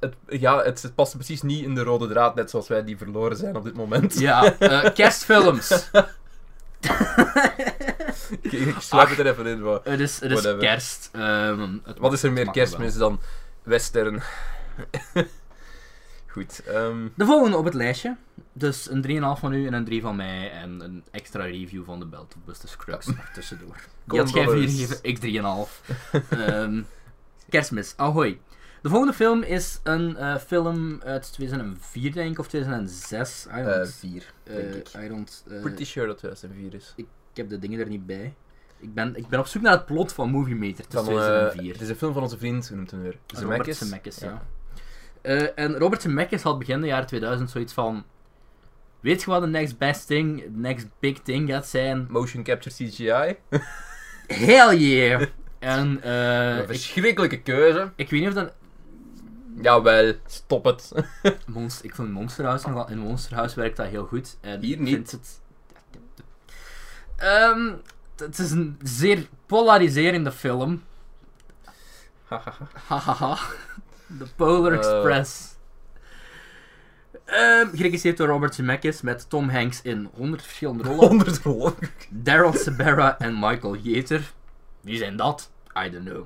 S1: het, ja, het, het past precies niet in de rode draad, net zoals wij die verloren zijn op dit moment.
S2: Ja, eh, kerstfilms.
S1: ik ik sluit het er even in, maar
S2: Het is, het is
S1: Whatever.
S2: kerst. ehm, het
S1: wat is er meer
S2: mag wel.
S1: kerstmis dan western? Goed, ehm,
S2: De volgende op het lijstje. Dus een 3,5 van u en een 3 van mij. En een extra review van de Belt of Buster Crux nog tussendoor. Die had jij 4
S1: Condolence.
S2: gegeven, ik
S1: Eh,
S2: 3,5. Ehm kerstmis, ahoy. De volgende film is een eh, film uit 2004, denk ik, of 2006. I don't,
S1: eh, vier,
S2: eh,
S1: denk ik.
S2: I don't, eh,
S1: Pretty sure dat 2004 is.
S2: ik heb de dingen er niet bij. Ik ben, ik ben op zoek naar het plot van Movie Meter. Het is
S1: Van, eh,
S2: 2004.
S1: het is een film van onze vriend, hoe noemt hem weer?
S2: Robert
S1: Zemeckis?
S2: Zemeckis, ja.
S1: Ja.
S2: Eh, en Robert Zemeckis had begin de jaren 2000 zoiets van... Weet je wat de next best thing, de next big thing gaat zijn?
S1: Motion capture CGI.
S2: Hell yeah! en eh,
S1: Een
S2: ik,
S1: verschrikkelijke keuze.
S2: ik weet niet of dat...
S1: Jawel, stop het.
S2: Monst- ik vond Monsterhuis nog wel... In Monsterhuis werkt dat heel goed. En
S1: Hier
S2: ik
S1: niet.
S2: vind Het, Ehm, t- het is een zeer polariserende film.
S1: Hahaha.
S2: Hahaha. De Polar
S1: Eh.
S2: Express. Ehm geregisseerd door Robert Zemeckis met Tom Hanks in 100 verschillende rollen.
S1: 100 rollen.
S2: Daryl Sebera en Michael Jeter. Wie zijn dat? I don't know.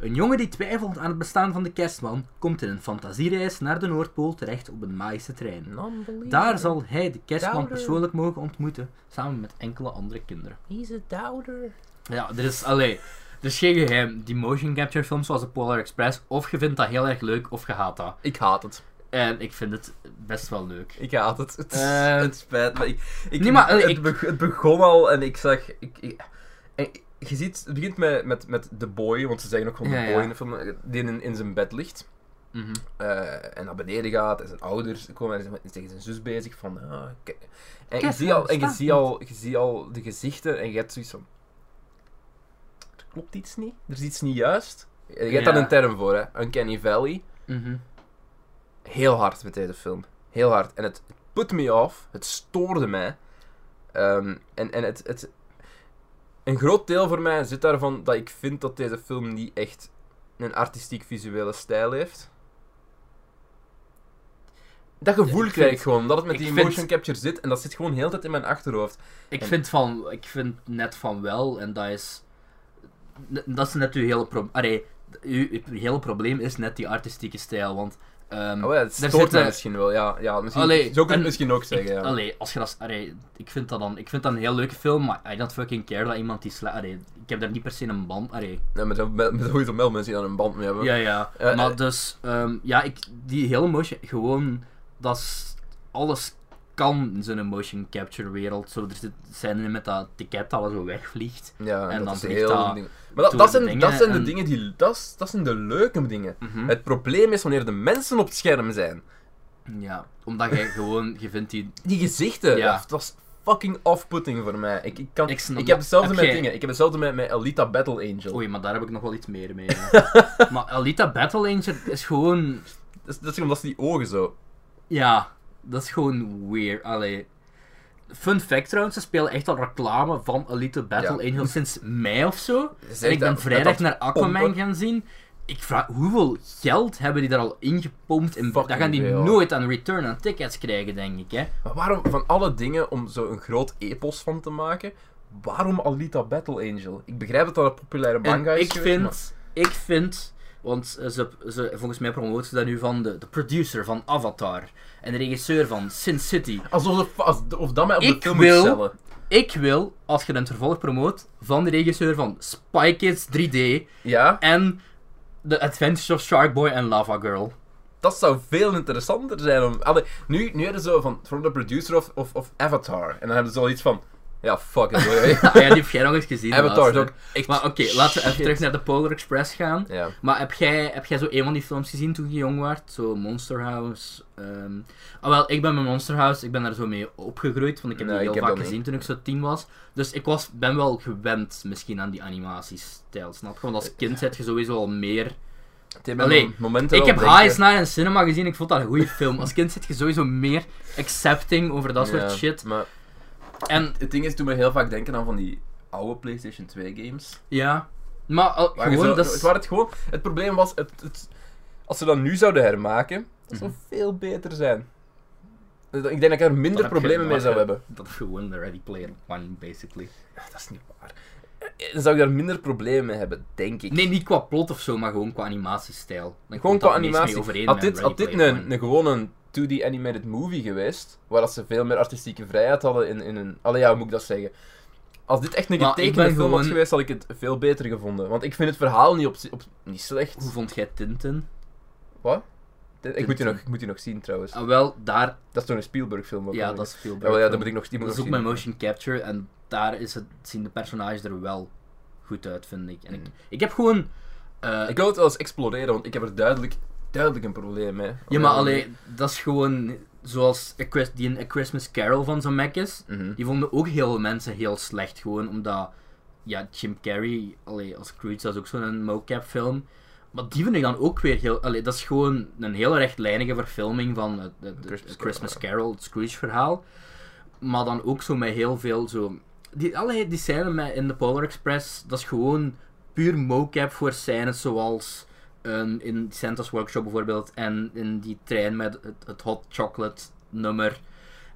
S2: Een jongen die twijfelt aan het bestaan van de kerstman komt in een fantasiereis naar de Noordpool terecht op een magische trein. Daar zal hij de kerstman
S1: Dowder.
S2: persoonlijk mogen ontmoeten samen met enkele andere kinderen.
S1: He's a doubter.
S2: Ja, er is, allee, er is geen geheim. Die motion capture films zoals de Polar Express, of je vindt dat heel erg leuk of je haat dat.
S1: Ik haat het.
S2: En ik vind het best wel leuk.
S1: Ik haat het. Het, is-
S2: Eh.
S1: het spijt me. Ik, ik,
S2: Nee, maar, eh,
S1: het,
S2: ik-
S1: beg- het begon al en ik zag... Ik, ik- en ik- je ziet, het begint met, met, met de boy, want ze zeggen ook gewoon
S2: Ja,
S1: de
S2: ja.
S1: boy in de film, die in, in zijn bed ligt. eh, en naar beneden gaat en zijn ouders komen en zijn- tegen zijn zus bezig van ah, k- en je
S2: Kerstman
S1: ziet al en je
S2: bestaat
S1: ziet al, je ziet al de gezichten en je hebt zoiets van er klopt iets niet er is iets niet juist je hebt
S2: Ja.
S1: daar een term voor hè uncanny valley
S2: Mhm.
S1: heel hard met deze film heel hard en het put me off het stoorde mij Ehm, en en het, het een groot deel voor mij zit daarvan dat ik vind dat deze film niet echt een artistiek visuele stijl heeft. Dat gevoel
S2: Ja, ik
S1: krijg ik
S2: vind-
S1: gewoon, dat het met
S2: ik
S1: die
S2: vind-
S1: motion capture zit en dat zit gewoon heel de tijd in mijn achterhoofd.
S2: Ik,
S1: En-
S2: vind van, ik vind net van wel, en dat is. n- Dat is net uw hele probleem. Allee, uw, uw hele probleem is net die artistieke stijl. Want. ehm,
S1: Oh ja, het
S2: Daar
S1: stoort mij
S2: zitten-
S1: misschien wel, ja. ja misschien,
S2: Allee,
S1: zo kun je
S2: en-
S1: het misschien ook
S2: ik,
S1: zeggen, ja.
S2: allee, als je dat, allee, ik vind dat dan, ik vind dat een heel leuke film, maar I don't fucking care dat iemand die sla, allee, ik heb daar niet per se een band, allee.
S1: Ja, maar zo- met, met sowieso wel mensen die daar een band mee hebben.
S2: Ja, ja.
S1: Eh,
S2: maar
S1: eh.
S2: dus, ehm, ja, ik, die hele motion, gewoon, dat is, alles kan in zo'n motion capture wereld. Zo, er zit, zijn er met dat ticket dat alles zo wegvliegt.
S1: Ja,
S2: En
S1: dat
S2: dan
S1: is
S2: vliegt
S1: heel
S2: dat
S1: een ding. Maar dat,
S2: door
S1: dat,
S2: de
S1: zijn, dat
S2: dingen
S1: zijn de
S2: en-
S1: dingen die... Dat, is- dat zijn de leuke dingen.
S2: Mhm.
S1: Het probleem is wanneer de mensen op het scherm zijn.
S2: Ja, omdat jij gewoon, je vindt die...
S1: Die gezichten,
S2: Ja.
S1: dat was fucking off-putting voor mij. Ik, ik, kan,
S2: Ik
S1: ik,
S2: snap dat.
S1: heb hetzelfde
S2: Heb
S1: met
S2: jij-
S1: dingen. Ik heb hetzelfde met, met Alita Battle Angel.
S2: Oei, maar daar heb ik nog wel iets meer mee. ja. maar Alita Battle Angel is gewoon...
S1: Dat, is, dat is omdat ze die ogen zo.
S2: Ja, dat is gewoon weird. Allee. Fun fact trouwens, ze spelen echt al reclame van Elite Battle Angel sinds mei of zo. En ik ben vrijdag naar Aquaman
S1: pompen.
S2: gaan zien. Ik vraag, hoeveel geld hebben die daar al ingepompt? En dat
S1: Fucking
S2: gaan die
S1: veel.
S2: nooit aan return aan tickets krijgen, denk ik. Hè?
S1: Maar waarom, van alle dingen om zo'n groot epos van te maken, waarom Alita Battle Angel? Ik begrijp dat dat een populaire
S2: En
S1: manga is
S2: ik
S1: geweest,
S2: vind,
S1: maar-
S2: ik vind, want eh, ze, ze, volgens mij promoten ze dat nu van de, de producer van Avatar en de regisseur van Sin City.
S1: Alsof de fa- als- of dat mij op de
S2: Ik
S1: film
S2: wil-
S1: moet stellen.
S2: Ik wil, als je een vervolg promoot, van de regisseur van Spy Kids 3D
S1: Ja,
S2: en The Adventures of Sharkboy en Lava Girl.
S1: dat zou veel interessanter zijn. Om, allee, nu, nu hebben ze zo van, from the producer of, of, of Avatar. En dan hebben ze al iets van, ja, fuck it. hoor.
S2: Ah, ja, die heb jij nog eens gezien.
S1: Avatar is
S2: laatst, hè.
S1: ook echt...
S2: Maar oké, laten we even
S1: shit.
S2: terug naar de Polar Express gaan.
S1: Ja.
S2: Maar heb jij, heb jij zo een van die films gezien toen je jong was? Zo Monster House. ehm. Ah, wel, ik ben met Monster House, ik ben daar zo mee opgegroeid. Want ik heb
S1: Nee,
S2: die
S1: ik
S2: heel
S1: heb
S2: vaak
S1: dat
S2: gezien
S1: niet.
S2: toen ik zo tien was. Dus ik was, ben wel gewend misschien aan die animatiestijl, snap je? Want
S1: Eh,
S2: als kind heb je sowieso al meer...
S1: Die hebben
S2: Allee,
S1: momenten
S2: Ik
S1: wel
S2: heb
S1: denken.
S2: Highs naar een cinema gezien, ik vond dat een goede film. Als kind zit je sowieso meer accepting over dat
S1: Ja,
S2: soort shit.
S1: Maar
S2: En
S1: het ding is, toen we heel vaak denken aan van die oude PlayStation 2 games.
S2: ja, maar al-
S1: Waar je
S2: gewoon,
S1: zo-
S2: dat is...
S1: waar het gewoon... Het probleem was, het, het- als ze dat nu zouden hermaken, dat
S2: Mhm.
S1: zou veel beter zijn. Ik denk dat ik er minder
S2: heb je-
S1: problemen mee
S2: dan
S1: zou
S2: heb
S1: hebben.
S2: Dat is gewoon de Ready Player One, basically.
S1: Dat is niet waar. Eh, Dan zou ik daar minder problemen mee hebben, denk ik.
S2: Nee, niet qua plot of zo, maar gewoon qua animatiestijl.
S1: Gewoon
S2: Dan komt dat
S1: qua
S2: het meest mee
S1: animatie.
S2: overeen
S1: Had
S2: met
S1: dit,
S2: Ready
S1: had dit
S2: Player
S1: een,
S2: One.
S1: een gewone 2D animated movie geweest, waar dat ze veel meer artistieke vrijheid hadden in, in een... Allee, ja, hoe moet ik dat zeggen? Als dit echt een
S2: Maar ik
S1: getekende
S2: ben
S1: film had
S2: gewoon-
S1: geweest, had ik het veel beter gevonden. Want ik vind het verhaal niet, op, zi- op, niet slecht.
S2: Hoe vond jij Tintin?
S1: Wat? Ik moet, die
S2: Tintin.
S1: nog, ik moet die nog zien, trouwens.
S2: Ah, wel, daar...
S1: Dat is toch een Spielberg film ook?
S2: Ja,
S1: alweer?
S2: dat is veel
S1: Ja, wel, ja, dat moet ik nog die moet
S2: Dat
S1: ik
S2: is ook
S1: nog
S2: mijn
S1: zien.
S2: motion capture en daar is het, zien de personages er wel goed uit, vind ik.
S1: Hmm.
S2: En ik, ik heb gewoon... eh,
S1: Ik wil het wel eens exploreren, want ik heb er duidelijk, duidelijk een probleem mee.
S2: ja, maar alleen, dat is gewoon zoals A Chris- die in A Christmas Carol van zo'n Mac is.
S1: Mhm.
S2: Die vonden ook heel veel mensen heel slecht, gewoon omdat... Ja, Jim Carrey, allee, als Scrooge, dat is ook zo'n mocap film. Maar die vind ik dan ook weer heel... Allee, dat is gewoon een heel rechtlijnige verfilming van het, het- het
S1: Christmas
S2: Christmas, Carol, het Scrooge-verhaal. Maar dan ook zo met heel veel zo... Die, allee, die scène met, in de Polar Express, dat is gewoon puur mocap voor scènes zoals... ehm, in Santa's Workshop bijvoorbeeld, en in die trein met het, het hot chocolate nummer.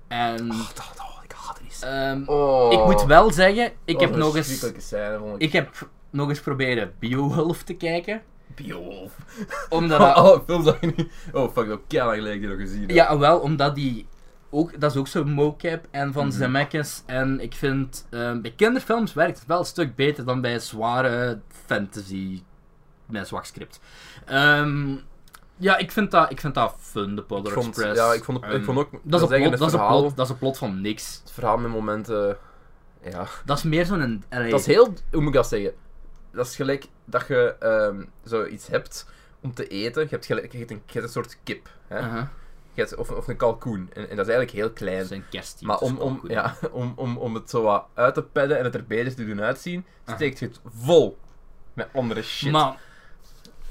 S2: En...
S1: Oh, dat- oh, ik haat die scène.
S2: ehm,
S1: Oh.
S2: ik moet wel zeggen, ik
S1: Wat
S2: heb
S1: een
S2: nog eens.
S1: verschrikkelijke scène, vond ik.
S2: Ik heb nog eens proberen Beowulf te kijken.
S1: Beowulf.
S2: Omdat
S1: Van
S2: dat-
S1: alle films dat je niet... Oh, fuck, dat kei lang geleden die nog gezien. heb.
S2: oh, ja, wel, omdat die. Ook, dat is ook zo'n mocap en van
S1: Mhm.
S2: Zemeckis. En ik vind ehm, bij kinderfilms werkt het wel een stuk beter dan bij zware fantasy. Met een zwak script. Ehm, ja, ik vind, dat, ik vind dat fun, de Polar
S1: Ik vond,
S2: Express.
S1: ja, ik vond, het, ik
S2: Ehm,
S1: vond ook...
S2: dat is, een
S1: zeggen,
S2: plot,
S1: het
S2: dat, is een
S1: verhaal,
S2: plot, dat is een plot van niks.
S1: Het verhaal met momenten... eh, Ja.
S2: Dat is meer zo'n. allee,
S1: Dat is heel... Hoe moet ik dat zeggen? Dat is gelijk dat je ehm, zoiets hebt om te eten. Je hebt, gelijk, je hebt, een, je hebt een soort kip. Hè?
S2: aha,
S1: Je hebt, of, of een kalkoen. En, en dat is eigenlijk heel
S2: dat
S1: klein.
S2: is een kerstdienst,
S1: Maar
S2: dat is
S1: om,
S2: wel
S1: om,
S2: goed.
S1: ja, om, om, om het zo wat uit te pedden en het er beter te doen uitzien, steekt je het vol met andere shit.
S2: Maar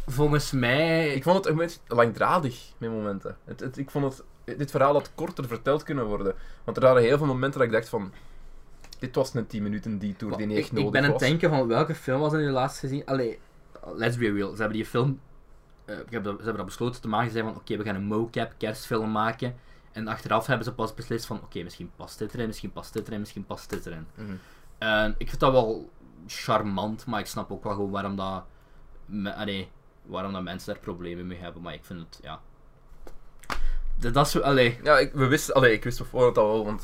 S2: volgens mij.
S1: ik vond het een beetje langdradig met momenten. Het, het- ik vond het, dit verhaal had korter verteld kunnen worden. Want er waren heel veel momenten dat ik dacht van... Dit was een 10 minuten detour die niet echt
S2: ik, ik
S1: nodig
S2: ben aan het
S1: was.
S2: denken van welke film was er nu laatst gezien. Allee, let's be real. Ze hebben die film. eh, ik heb dat- ze hebben dat besloten te maken. Ze zeiden van oké, we gaan een mocap kerstfilm maken. En achteraf hebben ze pas beslist van oké, misschien past dit erin, misschien past dit erin, misschien past dit erin.
S1: Mhm.
S2: En ik vind dat wel charmant, maar ik snap ook wel gewoon waarom dat, me- allee, waarom dat mensen daar problemen mee hebben. Maar ik vind het, ja. Dat, dat is, allee,
S1: Ja, ik, we wisten, allee, ik wist van voren dat wel, want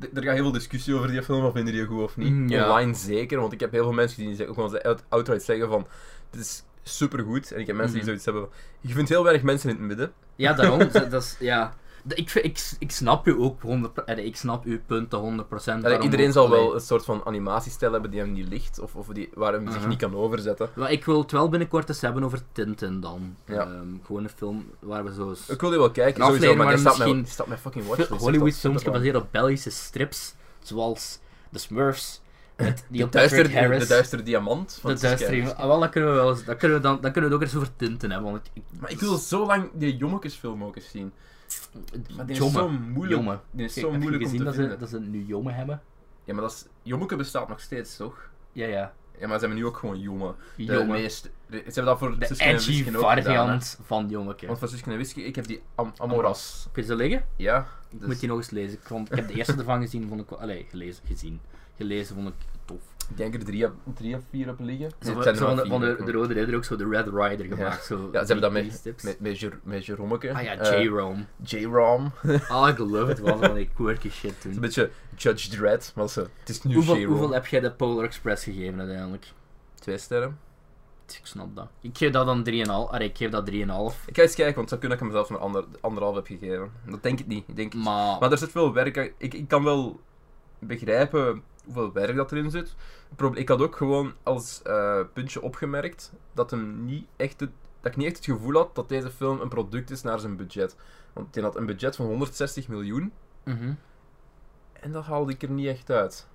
S1: d- er gaat heel veel discussie over die film, of vinden die goed of
S2: Mm,
S1: niet.
S2: ja.
S1: Online zeker, want ik heb heel veel mensen gezien die zeggen- ook wel ze- out- outright zeggen van, dit is supergoed. En ik heb mensen die
S2: Mhm.
S1: zoiets hebben van, je vindt heel weinig mensen in het midden.
S2: Ja, daarom. dat, dat is, ja. D- Ik, vind- ik, ik snap u ook 100%. eh, Ik snap uw punten 100%.
S1: Allee,
S2: daarom
S1: iedereen
S2: ook,
S1: zal wel
S2: allee.
S1: een soort van animatiestijl hebben die hem niet ligt, of, of die, waar hem zich
S2: Aha.
S1: niet kan overzetten.
S2: Wel, ik wil het wel binnenkort eens hebben over Tintin dan.
S1: Ja.
S2: Ehm, gewoon een film waar we zo. s-
S1: Ik wil die wel kijken,
S2: Een
S1: sowieso,
S2: aflevering
S1: maar
S2: waar
S1: die staat, mij,
S2: misschien
S1: die staat mij fucking
S2: veel
S1: watchlist.
S2: Hollywood
S1: echt al
S2: films
S1: superlang.
S2: gebaseerd op Belgische strips. Zoals The Smurfs, Met die op
S1: Duister,
S2: Patrick Harris.
S1: de duistere diamant van
S2: De
S1: Siskel.
S2: duistere. Ah, wel, dat kunnen we wel eens. Dat kunnen we dan, dan kunnen we het ook eens over tinten hebben. Want ik,
S1: Maar ik wil zo lang die Jommekesfilm ook eens zien. Maar die is
S2: Jomme.
S1: zo moeilijk.
S2: Jomme.
S1: Die is
S2: Kijk,
S1: zo
S2: heb je
S1: moeilijk om
S2: gezien
S1: te
S2: dat ze,
S1: vinden.
S2: dat ze nu jongen hebben?
S1: Ja, maar dat is... Jommeke bestaat nog steeds, toch?
S2: Ja, ja.
S1: Ja, maar ze hebben nu ook gewoon Jomme. De
S2: Jongen.
S1: meest- de- ze hebben dat voor
S2: De
S1: Suske en
S2: edgy
S1: Wiske ook gedaan, hè.
S2: variant van jongeke.
S1: Want voor Suske en Wiske, ik heb die Am- Amoras.
S2: Kun je ze liggen?
S1: Ja. dus-
S2: Moet die nog eens lezen. Ik, vond, ik heb de eerste ervan gezien, vond ik wel... Allee, gelezen, gezien. Gelezen vond ik tof.
S1: Ik denk er drie, op- drie of vier op liggen.
S2: Ze
S1: Nee, het
S2: hebben
S1: zijn
S2: zo
S1: er
S2: van,
S1: maar
S2: de, van
S1: vier,
S2: de, de Rode Ridder ook zo de Red Rider gemaakt. Zo
S1: Ja, ze hebben dat
S2: mee.
S1: met, met, met, Jer- met Jeromeke.
S2: Ah ja,
S1: Eh,
S2: J-Rome.
S1: J-Rom.
S2: Ah, ik geloof het wel van die quirky shit
S1: Een
S2: toen.
S1: beetje Judge Dredd, maar ze, het is nu
S2: Hoeveel,
S1: J-Rom.
S2: hoeveel heb jij de Polar Express gegeven uiteindelijk?
S1: Twee sterren.
S2: Ik snap dat. Ik geef dat dan 3,5. Allee, ik geef dat 3,5.
S1: Ik ga eens kijken, want zo kun ik hem zelfs een ander, anderhalf heb gegeven. Dat denk ik niet. Ik denk,
S2: Maar...
S1: Maar er zit veel werk aan. Ik, ik kan wel begrijpen hoeveel werk dat erin zit. Het proble- Ik had ook gewoon als eh, puntje opgemerkt dat, hem niet echt het, dat ik niet echt het gevoel had dat deze film een product is naar zijn budget. Want die had een budget van 160 miljoen
S2: Mhm.
S1: en dat haalde ik er niet echt uit.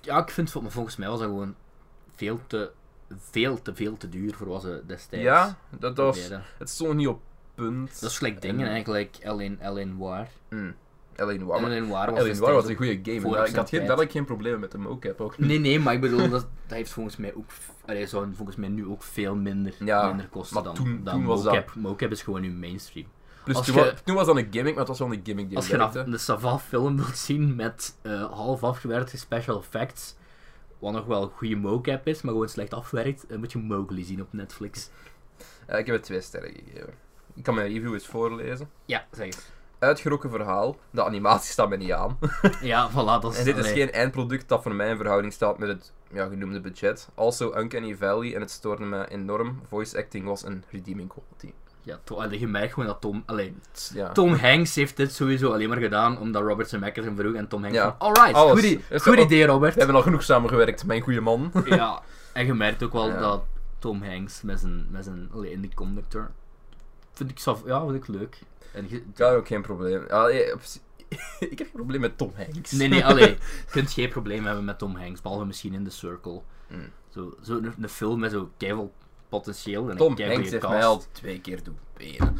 S2: Ja, ik vind... vol- Maar volgens mij was dat gewoon veel te... Veel te veel te duur voor wat ze destijds...
S1: Ja, dat was,
S2: probeerden.
S1: het stond niet op punt.
S2: Dat is gelijk dingen eigenlijk, Ellen, Ellen Waar.
S1: Mm. Ellen War.
S2: Ellen Waar was
S1: Ellen War was een goede game.
S2: voor Hm.
S1: en daar-
S2: op
S1: Ik had geen,
S2: zijn tijd.
S1: dadelijk geen probleem met de mocap ook.
S2: Nee, nee, maar ik bedoel, dat, dat heeft volgens mij ook... Allee, zou volgens mij nu ook veel minder,
S1: Ja,
S2: minder kosten
S1: maar
S2: dan,
S1: toen-
S2: dan
S1: toen was dat-
S2: mocap. Mocap is gewoon nu mainstream.
S1: Plus
S2: Als
S1: Dus toen,
S2: je-
S1: wa- toen was dat een gimmick, maar het was wel een gimmick die
S2: Als je
S1: werkte.
S2: een, een savant film wilt zien met eh, half afgewerkte special effects, wat nog wel goede mocap is, maar gewoon slecht afgewerkt, eh, moet je Mowgli zien op Netflix.
S1: Eh, ik heb het twee sterren gegeven. Ik kan mijn review eens voorlezen.
S2: Ja, zeg eens.
S1: Uitgerokken verhaal. De animatie staat mij niet aan.
S2: Ja, voilà, dat is...
S1: en dit is
S2: allee.
S1: geen eindproduct dat voor mij in verhouding staat met het ja, genoemde budget. Also Uncanny Valley en het stoorde me enorm. Voice acting was een redeeming quality.
S2: Ja, to- allee, je merkt gewoon dat Tom... Allee,
S1: Het- Ja.
S2: Tom Hanks heeft dit sowieso alleen maar gedaan omdat Robert Zemeckis hem vroeg en Tom Hanks
S1: Ja.
S2: van, alright,
S1: Alles.
S2: goed, i-
S1: Heeft
S2: goed
S1: ook-
S2: idee
S1: We
S2: Robert.
S1: hebben al genoeg samengewerkt, mijn goede man.
S2: Ja, en je merkt ook wel
S1: Ja.
S2: dat Tom Hanks met zijn, met zijn allee, in de conductor, vind ik, saf- ja, vind ik leuk. En je-
S1: Ik had ook geen probleem. Ja, eh, op zich- ik heb geen probleem met Tom Hanks.
S2: Nee, nee, allee. Je kunt geen probleem hebben met Tom Hanks, behalve misschien in The Circle.
S1: Mm.
S2: Zo, zo een, een film met zo keiveel potentieel. En een
S1: Tom
S2: keigoeie
S1: Hanks heeft
S2: cast.
S1: mij al twee keer doen benen.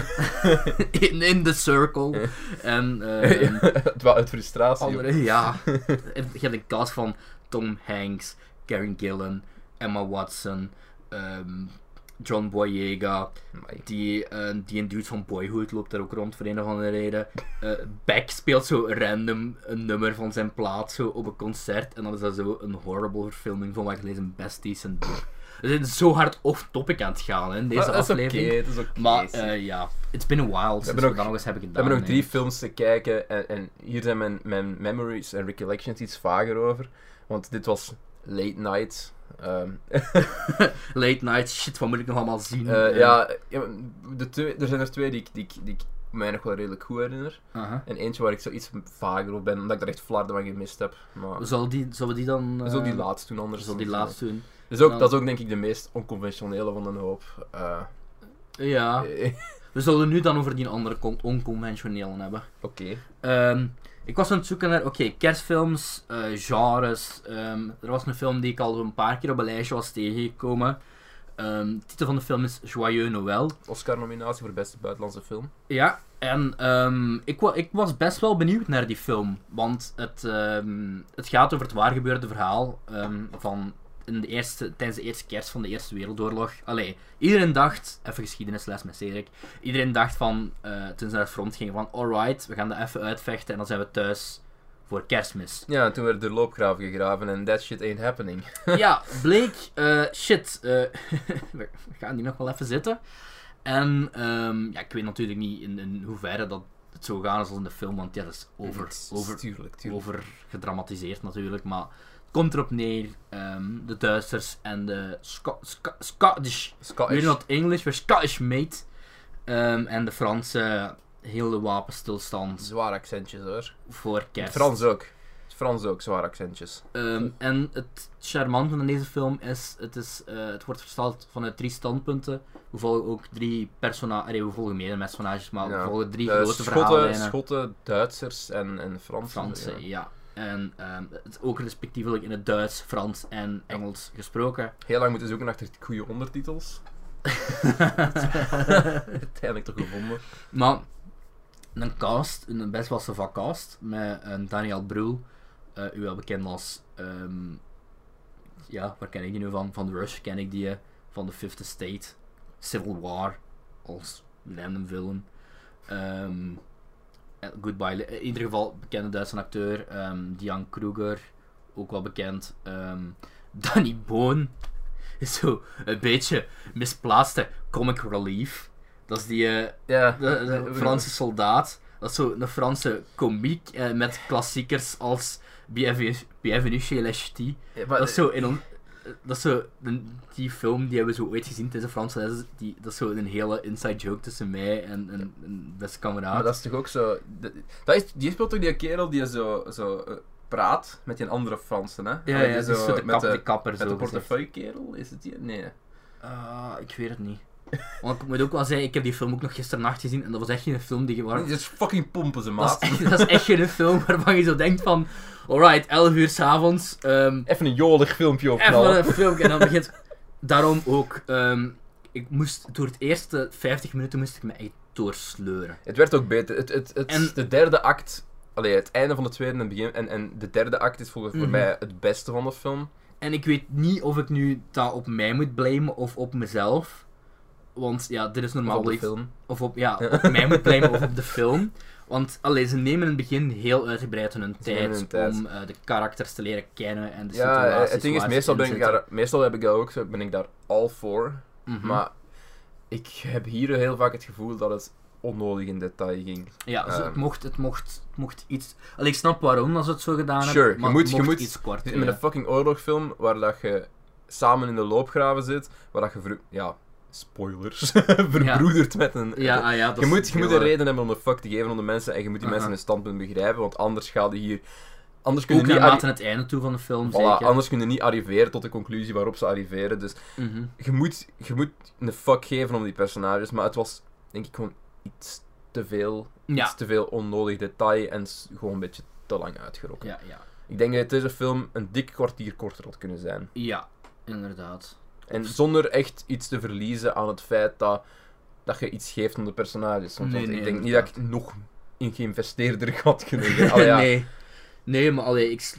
S2: in, in The Circle. en eh, een
S1: Ehm, Het was uit frustratie.
S2: andere, ja. Je hebt een cast van Tom Hanks, Karen Gillan, Emma Watson, ehm, John Boyega.
S1: Amai.
S2: Die, eh, die een dude van Boyhood loopt daar ook rond voor een of andere reden. Eh, Beck speelt zo random een nummer van zijn plaat zo op een concert. En dan is dat zo een horrible verfilming van wat ik lees in Besties en boek. We zijn zo hard off-topic aan het gaan hè, in deze
S1: Maar dat is oké,
S2: aflevering.
S1: dat is oké.
S2: Maar eh, ja, it's been a while sinds we
S1: nog-
S2: dat nog eens hebben
S1: We
S2: gedaan.
S1: hebben nog drie
S2: eigenlijk.
S1: films te kijken en, en hier zijn mijn, mijn memories en recollections iets vager over. Want dit was Late Night. Ehm,
S2: Late night, shit, wat moet ik nog allemaal zien?
S1: eh,
S2: Eh,
S1: ja, ja, de twee, er zijn er twee die ik, die, ik- die ik mij nog wel redelijk goed herinner.
S2: aha.
S1: En eentje waar ik zoiets vager op ben, omdat ik daar echt flarden van gemist heb. Maar
S2: Zullen, die, zullen we die dan... Dus, eh,
S1: zo die laatst toen anders.
S2: zullen we die
S1: dan-
S2: laatst doen?
S1: Dus ook,
S2: Ja.
S1: dat is ook denk ik de meest onconventionele van een hoop. Eh,
S2: Ja,
S1: eh,
S2: we zullen nu dan over die andere con- onconventionele hebben.
S1: Oké.
S2: Ehm, ik was aan het zoeken naar, oké, kerstfilms, eh, genres. ehm, er was een film die ik al een paar keer op een lijstje was tegengekomen. Ehm, de titel van de film is Joyeux Noël.
S1: Oscar-nominatie voor beste buitenlandse film.
S2: Ja, en ehm, ik, wa- ik was best wel benieuwd naar die film. Want het, ehm, het gaat over het waargebeurde verhaal ehm, van in de eerste, tijdens de eerste kerst van de Eerste Wereldoorlog. Allee, iedereen dacht, even geschiedenisles met Cedric, iedereen dacht van, eh, toen ze naar het front gingen, van alright, we gaan dat even uitvechten en dan zijn we thuis voor kerstmis.
S1: Ja, en toen werd de loopgraaf gegraven en that shit ain't happening.
S2: ja, bleek, eh, shit, eh, we gaan die nog wel even zitten. En ehm, ja, ik weet natuurlijk niet in, in hoeverre dat het zo gaan is als in de film, want ja, dat is over, over,
S1: Tuurlijk, tuurlijk.
S2: over gedramatiseerd natuurlijk, maar het komt erop neer. ehm, de Duitsers en de Sco- Sco- Scottish,
S1: Scottish.
S2: we're not English, we're Scottish mate. Ehm, en de Fransen, heel de wapenstilstand
S1: Zwaar accentjes hoor.
S2: voor kerst.
S1: Frans ook. Frans ook, zwaar accentjes.
S2: Ehm, en het charmante van deze film is, het, is eh, het wordt versteld vanuit drie standpunten. We volgen ook drie personages, we volgen meerdere personages, maar
S1: Ja.
S2: we volgen drie
S1: Eh,
S2: grote
S1: Schotten,
S2: verhaallijnen.
S1: Schotten, Duitsers en, en Fransen.
S2: Fransen,
S1: ja.
S2: ja. En ehm, het is ook respectievelijk in het Duits, Frans en Engels gesproken.
S1: Heel lang moeten zoeken achter goede ondertitels. Uiteindelijk toch gevonden.
S2: Maar een cast, een best wel savant cast, met een Daniel Brühl, eh, u wel bekend als... ehm, ja, waar ken ik die nu van? Van Rush ken ik die, eh, van The Fifth Estate, Civil War, als random villain. Ehm, eh, Goodbye, Li- in ieder geval bekende Duitse acteur, ehm Diane Kruger, ook wel bekend. ehm, Danny Boon is zo een beetje misplaatste comic relief. Dat is die... eh,
S1: Ja.
S2: de, de Franse soldaat. Dat is zo een Franse komiek eh, met klassiekers als Bienvenue Bienvenue chez les Ch'tis.
S1: Ja, maar-
S2: Dat is zo in on- eh, dat is zo een- die film die hebben we zo ooit gezien tussen Franse lessen. Die, dat is zo een hele inside joke tussen mij en een, een beste
S1: Maar
S2: kameraad.
S1: dat is toch ook zo. de- dat is, die speelt toch die kerel die zo, zo eh, praat met die andere Fransen, hè?
S2: ja,
S1: Allee,
S2: ja,
S1: die
S2: dat is zo de,
S1: met
S2: kap, de, kapper
S1: met
S2: zo
S1: de
S2: gezegd.
S1: portefeuille-kerel? Is het die? Nee.
S2: Ah, ik weet het niet. Want ik moet ook wel zeggen, ik heb die film ook nog gisternacht gezien en dat was echt geen film die je waar,
S1: Dit is fucking pompen ze,
S2: Dat
S1: maat.
S2: is, echt, dat is echt geen film waarvan je zo denkt van... Alright, 11 uur s'avonds. ehm
S1: Even een jolig filmpje
S2: even
S1: opknallen.
S2: een filmpje en dan begint... Daarom ook. ehm, ik moest door het eerste 50 minuten moest ik me echt doorsleuren.
S1: Het werd ook beter. Het, het, het,
S2: En-
S1: De derde act. Allee, het einde van de tweede en, het begin, en, en de derde act is volgens
S2: Mhm.
S1: voor mij het beste van de film.
S2: En ik weet niet of ik nu dat op mij moet blamen of op mezelf. Want ja, dit is normaal
S1: Van de
S2: iets-
S1: film.
S2: Of op, ja, op mij moet blamen of op de film. Want allee, ze nemen in het begin heel uitgebreid hun
S1: nemen
S2: tijd
S1: hun tijd.
S2: om eh, de karakters te leren kennen en de
S1: Ja,
S2: situaties
S1: eh, het ding is,
S2: waar ze
S1: meestal
S2: in
S1: ben, ik
S2: zitten.
S1: daar, meestal heb ik daar ook, zo- ben ik daar al voor.
S2: Mhm.
S1: Maar ik heb hier heel vaak het gevoel dat het onnodig in detail ging.
S2: Ja, dus het,
S1: Ehm.
S2: mocht, het, mocht, het mocht iets... Allee, ik snap waarom dat ze het zo gedaan
S1: Sure, je
S2: hebben, maar
S1: moet-
S2: het
S1: je
S2: mocht
S1: moet-
S2: iets kort.
S1: Met
S2: ja.
S1: een fucking oorlogfilm waar dat je samen in de loopgraven zit, waar dat je vro- ja, spoilers, verbroedert met een...
S2: Ja, ah, ja, dat
S1: je
S2: is
S1: moet, je
S2: heel
S1: moet een
S2: erg.
S1: reden hebben om de fuck te geven aan de mensen en je moet die
S2: Aha.
S1: mensen hun standpunt begrijpen, want anders ga je hier... Anders kun je,
S2: Ook
S1: niet
S2: naarmate
S1: arri-
S2: het einde toe van de film,
S1: Voilà,
S2: zeker.
S1: anders kun je niet arriveren tot de conclusie waarop ze arriveren, dus
S2: Mhm.
S1: je moet, je moet een fuck geven om die personages, maar het was denk ik gewoon iets te veel
S2: Ja,
S1: iets te veel onnodig detail en s- gewoon een beetje te lang uitgerokken.
S2: ja, ja.
S1: Ik denk dat deze film een dik kwartier korter had kunnen zijn.
S2: Ja, inderdaad.
S1: En zonder echt iets te verliezen aan het feit dat, dat je iets geeft aan de personages. Soms,
S2: Nee,
S1: want
S2: nee,
S1: ik denk niet dat
S2: inderdaad.
S1: ik nog in geïnvesteerder had kunnen zijn. Allee, ja.
S2: nee. nee, maar allee, ik... s-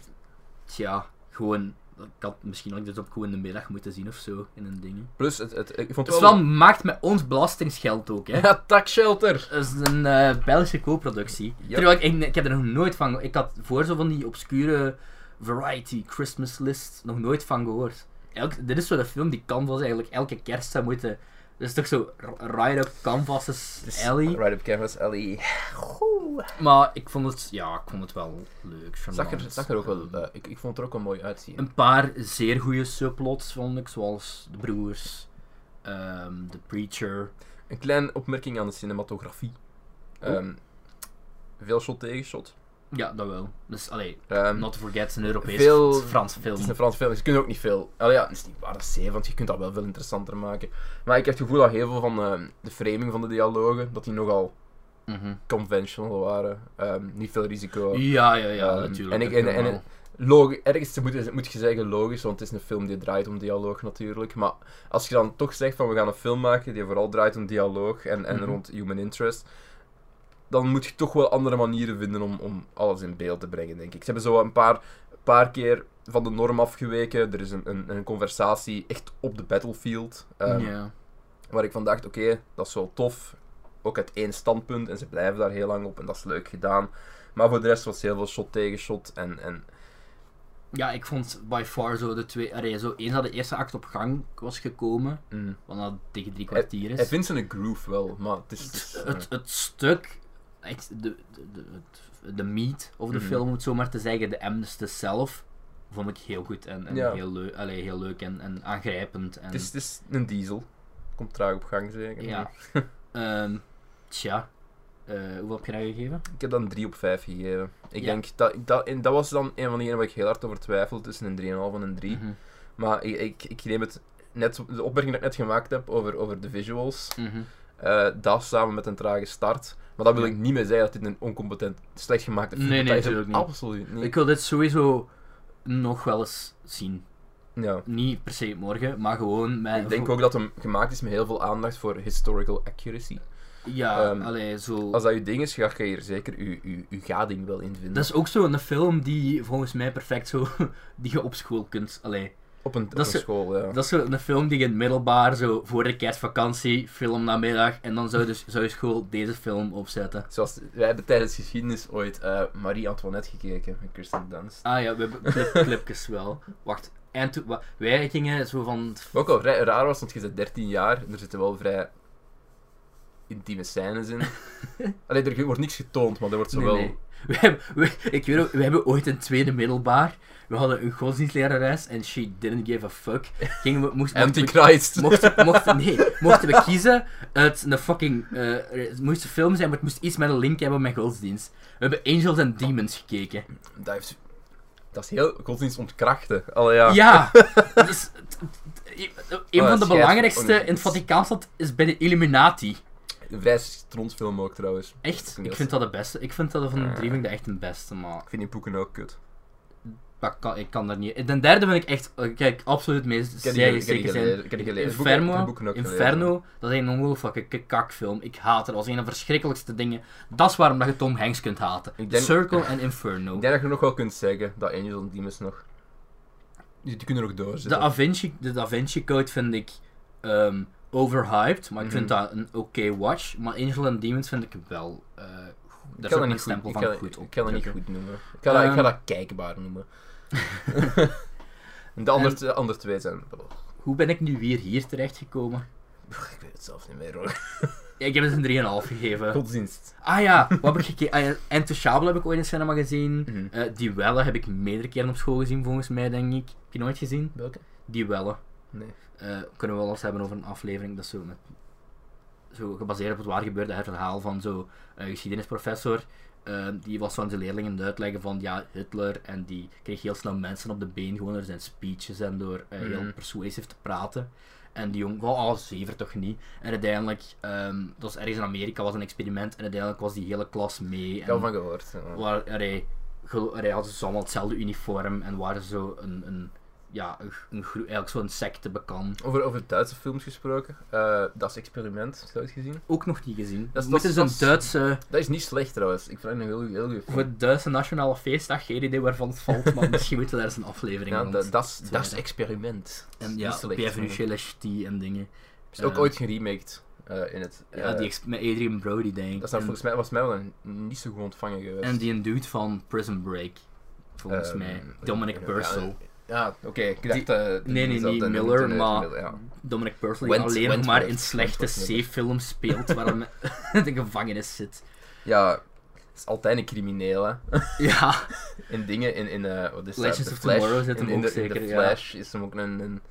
S2: Tja, gewoon... Ik had misschien ook dit op gewoon in de middag moeten zien of zo, in een ding.
S1: Plus, het, het, ik vond
S2: Het is
S1: het
S2: wel
S1: wel...
S2: maakt met ons belastingsgeld ook, hè.
S1: Ja, takshelter!
S2: Dat is een eh, Belgische co-productie.
S1: Ja.
S2: Terwijl ik, ik, ik heb er nog nooit van geho- Ik had voor zo van die obscure variety Christmas list nog nooit van gehoord. Elk, dit is zo'n film die canvas eigenlijk elke kerst zou moeten... Dat is toch zo r- Ride Up Canvases Alley.
S1: Right Up Canvas, Ellie. Goh.
S2: Maar ik vond het... Ja, ik vond het wel leuk.
S1: Zag er,
S2: charmant.
S1: zag er ook wel... eh, ik, ik vond het er ook wel mooi uitzien.
S2: Een paar zeer goede subplots vond ik, zoals De Broers, ehm The Preacher.
S1: Een kleine opmerking aan de cinematografie.
S2: Oh.
S1: Ehm, veel shot tegen shot.
S2: Ja, dat wel. Dus, allee,
S1: Ehm,
S2: not to forget, een Europees
S1: veel-
S2: Frans film.
S1: Het is een Frans film, dus je kunt ook niet veel. Allee, ja, het is niet waar dat zeven, want je kunt dat wel veel interessanter maken. Maar ik heb het gevoel dat heel veel van eh, de framing van de dialogen, dat die nogal
S2: Mhm.
S1: conventional waren. Ehm, niet veel risico.
S2: Ja, ja, ja,
S1: Ehm, en
S2: natuurlijk.
S1: ik-
S2: dat
S1: en-
S2: kan
S1: en-
S2: wel.
S1: Logi- ergens moet, je- moet je zeggen logisch, want het is een film die draait om dialoog natuurlijk. Maar als je dan toch zegt van we gaan een film maken die vooral draait om dialoog en, en
S2: Mhm.
S1: rond human interest. Dan moet je toch wel andere manieren vinden om, om alles in beeld te brengen, denk ik. Ze hebben zo een paar, paar keer van de norm afgeweken. Er is een, een, een conversatie echt op de battlefield. ehm,
S2: ja.
S1: Waar ik van dacht, oké, dat is wel tof. Ook uit één standpunt. En ze blijven daar heel lang op en dat is leuk gedaan. Maar voor de rest was heel veel shot tegen shot. En, en
S2: ja, ik vond by far zo de twee... Allee, zo eens dat de eerste act op gang was gekomen,
S1: mm.
S2: wat dat tegen drie kwartier is.
S1: Hij vindt zijn groove wel, maar het is... het is,
S2: het,
S1: eh,
S2: het, het stuk, echt de, de, de, het- de meat of de
S1: Mhm.
S2: film, om het zo maar te zeggen, de Amnesty zelf, vond ik heel goed en, en
S1: Ja.
S2: heel, leuk, allee, heel leuk en, en aangrijpend. En,
S1: het, is, het is een diesel. Komt traag op gang, zeker.
S2: ja. Ehm, tja, Eh, hoeveel heb je nou gegeven?
S1: Ik heb dan 3 op 5 gegeven. Ik
S2: Ja.
S1: denk, dat, dat, en dat was dan een van degenen waar ik heel hard over twijfel, tussen een 3,5 en een 3.
S2: Mhm.
S1: Maar ik, ik, ik neem het net, de opmerking die ik net gemaakt heb over, over de visuals,
S2: Mhm.
S1: eh, Eh, dat samen met een trage start. Maar dat wil
S2: Ja.
S1: ik niet meer zeggen dat dit een incompetent, slecht gemaakte film
S2: Nee,
S1: is.
S2: nee,
S1: Dat is
S2: natuurlijk
S1: hem
S2: niet.
S1: Absoluut niet.
S2: Ik wil dit sowieso nog wel eens zien.
S1: Ja.
S2: Niet per se morgen, maar gewoon met...
S1: Ik denk ook dat hem gemaakt is met heel veel aandacht voor historical accuracy.
S2: Ja,
S1: ehm,
S2: allee, zo...
S1: Als dat je ding is, ga je hier zeker je, je, je gading wel in vinden.
S2: Dat is ook zo'n film die volgens mij perfect zo... Die je op school kunt... Allee,
S1: op een, op
S2: dat
S1: een
S2: is-
S1: school, ja.
S2: Dat is zo'n film die je in het middelbaar, zo voor de kerstvakantie, film namiddag, en dan zou, dus, zou je school deze film opzetten.
S1: Zoals, wij hebben tijdens geschiedenis ooit eh, Marie-Antoinette gekeken met Kirsten Dunst.
S2: Ah ja, we hebben clip, clipjes wel. Wacht, en toen, wa- wij gingen zo van...
S1: Wat ook al vrij raar was, want je bent 13 jaar en er zitten wel vrij intieme scènes in. Alleen er wordt niks getoond, maar er wordt zo
S2: Nee,
S1: wel.
S2: nee. We hebben, we, ik weet ook, we hebben ooit een tweede middelbaar. We hadden een godsdienstlerares en she didn't give a fuck. Gingen we, moest, mochten, we,
S1: Antichrist.
S2: mochten, mochten- nee, mochten we kiezen uit een fucking... eh, het moest een film zijn, maar het moest iets met een link hebben met godsdienst. We hebben Angels and Demons gekeken.
S1: Dat, heeft- dat is heel godsdienst ontkrachten. Allee, ja.
S2: Ja, dus, t- t- t- een
S1: Oh,
S2: van de
S1: schijt.
S2: belangrijkste in het
S1: Onions.
S2: Vaticaanstad is bij de Illuminati.
S1: Een vrij strontfilm ook trouwens.
S2: Echt?
S1: Yes.
S2: Ik vind dat de beste. Ik vind dat van de drie vind ik dat echt de beste, maar
S1: Ik vind die boeken ook kut.
S2: dat kan, ik kan daar niet. Den derde ben ik echt, eh, kijk, absoluut mee.
S1: Ik heb die
S2: zeer
S1: gele- ik heb die
S2: zeker
S1: gelezen,
S2: zijn.
S1: ik heb die gelezen. Ik heb boeken- ik heb
S2: Inferno,
S1: boeken ook gelezen.
S2: Inferno, dat is een ongelooflijke k- kakfilm. Ik haat het als een van de verschrikkelijkste dingen. Dat is waarom dat je Tom Hanks kunt haten.
S1: Ik denk-
S2: Circle en Inferno.
S1: Ik denk dat je nog wel kunt zeggen dat Angel and Demons nog. Die die kunnen er ook door
S2: De
S1: zitten.
S2: Da Vinci, de Da Vinci Code vind ik ehm, overhyped, maar ik vind
S1: Mhm.
S2: dat een oké watch. Maar Angel and Demons vind ik wel. eh goed.
S1: ik
S2: daar
S1: kan
S2: zou
S1: dat
S2: ik een
S1: niet goed,
S2: stempel
S1: ik
S2: van
S1: kan,
S2: goed op.
S1: ik kan dat niet
S2: drukken.
S1: goed noemen. Ik ga, dat, ik ga
S2: Ehm.
S1: dat kijkbaar noemen. de andere, de andere twee zijn. oh,
S2: Hoe ben ik nu weer hier terechtgekomen?
S1: ik weet het zelf niet meer hoor.
S2: Ja, ik heb het een 3,5 gegeven.
S1: Godsdienst.
S2: Ah ja, wat heb ik gekeken? Ah ja, Intouchable heb ik ooit in het cinema gezien.
S1: Mhm.
S2: Eh, Die Wellen heb ik meerdere keren op school gezien, volgens mij, denk ik. Heb je nooit gezien?
S1: Welke?
S2: Die Wellen.
S1: Nee.
S2: Eh, kunnen we wel eens hebben over een aflevering. Dat is zo, met, zo gebaseerd op het waar gebeurde verhaal van zo'n eh, geschiedenisprofessor. eh, die was zo aan zijn leerlingen aan het uitleggen van ja, Hitler. En die kreeg heel snel mensen op de been gewoon door zijn speeches en door eh,
S1: Mhm.
S2: heel persuasief te praten. En die jong, wel al zever toch niet. En uiteindelijk, ehm, dat was ergens in Amerika, was een experiment. En uiteindelijk was die hele klas mee.
S1: Ik heb
S2: En
S1: ervan gehoord. ja.
S2: waar er, hij- gel- er hij hadden ze dus allemaal hetzelfde uniform en waren zo een, een ja, een, gro- een, gro- eigenlijk zo'n secte bekan.
S1: Over, over Duitse films gesproken. eh, dat is Experiment, heb je dat gezien?
S2: Ook nog niet gezien.
S1: Dat is-
S2: We moeten
S1: dat is-
S2: zo'n Duitse,
S1: Dat is niet slecht trouwens. Ik vind het een heel, heel goede film.
S2: voor het Duitse nationale feestdag, geen idee waarvan het valt, maar misschien moeten we daar eens een aflevering
S1: Ja,
S2: rond.
S1: dat, dat is, dat is
S2: Ja.
S1: Experiment. Dat is
S2: en ja,
S1: niet slecht.
S2: Bienvenue chez les Ch'tis en dingen.
S1: Is ook
S2: Eh,
S1: ooit geremaked eh, in het.
S2: Ja,
S1: eh,
S2: die ex- met Adrian Brody, denk ik.
S1: Dat is nou
S2: En-
S1: volgens mij, was mij wel een, niet zo goed ontvangen geweest.
S2: En die een dude van Prison Break, volgens
S1: Ehm,
S2: mij. Dominic
S1: ja,
S2: Purcell.
S1: Ja, oké. ik dacht... eh, dat
S2: nee,
S1: is
S2: nee,
S1: dat
S2: niet
S1: de-
S2: Miller,
S1: de-
S2: maar
S1: Miller, ja.
S2: Dominic Purcell die
S1: Went-
S2: alleen nog maar in
S1: Wentworth.
S2: slechte
S1: Wentworth Miller.
S2: C-films speelt, waar hij in de gevangenis zit.
S1: Ja, het is altijd een crimineel, hè.
S2: Ja,
S1: In dingen, in... in eh, wat is dat?
S2: Legends
S1: The
S2: of
S1: Flash.
S2: Tomorrow zit
S1: in,
S2: hem
S1: in
S2: ook
S1: de, in
S2: zeker,
S1: The
S2: ja.
S1: Flash is hem ook een... een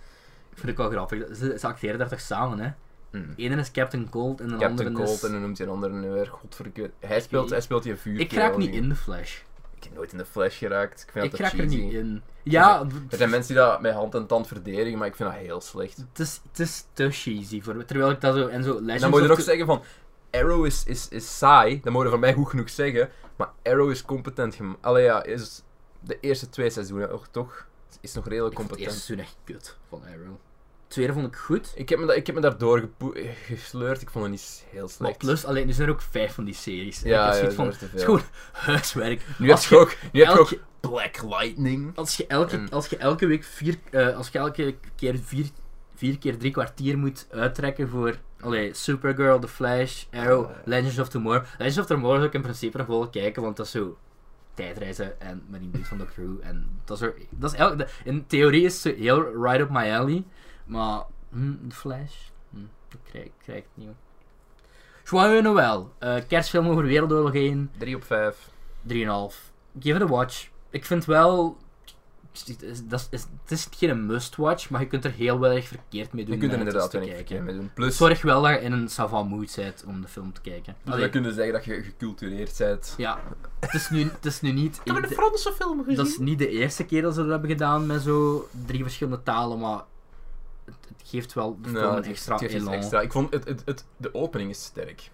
S2: vind ik wel grappig. Ze, ze acteren daar toch samen, hè?
S1: mm,
S2: De ene is Captain Cold en de
S1: Captain
S2: andere
S1: Colt en
S2: is...
S1: dan noemt hij een ander nu weer. Godverdikke. Hij speelt, hij speelt die vuur.
S2: Ik raak niet in de Flash.
S1: Ik heb nooit in de Flash geraakt. Ik vind
S2: Ik
S1: dat
S2: raak
S1: cheesy.
S2: er niet in. Ja,
S1: Er zijn mensen die dat met hand en tand verdedigen, maar ik vind dat heel slecht.
S2: het is, het is te cheesy voor me. Terwijl ik dat zo... En zo Legends
S1: En dan moet je er
S2: of
S1: ook
S2: the-
S1: zeggen van... Arrow is, is, is saai, dat moet je van mij goed genoeg zeggen. Maar Arrow is competent gemaakt. Allee ja, is de eerste twee seizoenen ook toch? Is nog redelijk
S2: Ik vond het
S1: competent.
S2: eerste seizoen echt kut van Arrow. Het tweede vond ik goed.
S1: Ik heb me, da- ik heb me daardoor gepo- gesleurd, ik vond het niet heel
S2: Maar
S1: slecht.
S2: plus, alleen, er zijn er ook vijf van die series. En
S1: Ja,
S2: ik heb
S1: ja,
S2: zoiets
S1: dat
S2: van,
S1: is te
S2: het is
S1: veel.
S2: gewoon huiswerk.
S1: Nu heb
S2: Als
S1: je ook, nu heb je
S2: elke-
S1: ook Black Lightning.
S2: Als je elke,
S1: Mhm. En-
S2: als je elke week vier, eh, als je elke keer vier, vier keer drie kwartier moet uittrekken voor allee, Supergirl, The Flash, Arrow,
S1: Ja.
S2: Legends of Tomorrow. Legends of Tomorrow zou ik in principe nog wel kijken, want dat is zo tijdreizen en met die dude van Doctor Who. En dat is, er, dat is elk, dat- in theorie is ze heel right up my alley, maar hm, The Flash, hm, ik krijg, ik krijg het niet. hoor. Joyeux Noël, eh, kerstfilm over Wereldoorlog 1.
S1: 3 op 5.
S2: 3,5. Give it a watch. Ik vind wel. Het is, dat is, het is geen must-watch, maar je kunt er heel weinig verkeerd mee doen.
S1: Je kunt er
S2: met
S1: inderdaad
S2: het eens
S1: weinig
S2: te
S1: verkeerd
S2: kijken. Dus
S1: mee doen. Plus,
S2: Zorg wel dat je in een savant mood bent om de film te kijken.
S1: dus
S2: Allee,
S1: we kunnen zeggen dat je gecultureerd bent.
S2: Ja, het is nu, het is nu niet. de-
S1: Franse film
S2: dat is niet de eerste keer dat ze dat hebben gedaan met zo drie verschillende talen, maar het, het geeft wel de film
S1: Nou,
S2: een extra
S1: het geeft iets
S2: elan
S1: extra. Ik vond het, het, het, de opening is sterk.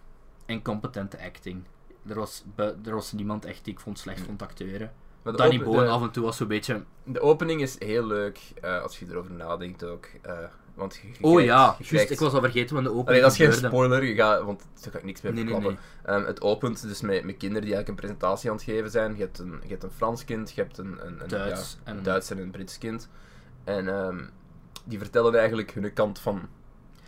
S2: en competente acting. Er was, bu- er was niemand echt die ik vond slecht vond acteren.
S1: Maar Mm. de
S2: Danny
S1: open-
S2: Boone
S1: de-
S2: af en toe was zo'n beetje...
S1: De opening is heel leuk, eh, als je erover nadenkt ook. eh, want je- je
S2: Oh
S1: kijkt- je
S2: ja, juist,
S1: kijkt-
S2: ik was al vergeten van de opening
S1: Allee, dat is geen
S2: gebeurde.
S1: spoiler, je gaat, want daar ga ik niks meer
S2: Nee, nee,
S1: verklappen.
S2: nee.
S1: Ehm, het opent dus met, met kinderen die eigenlijk een presentatie aan het geven zijn. Je hebt een, je hebt een Frans kind, je hebt een, een, een,
S2: Duits
S1: ja,
S2: en-
S1: een Duits en een Brits kind. En ehm, die vertellen eigenlijk hun kant van,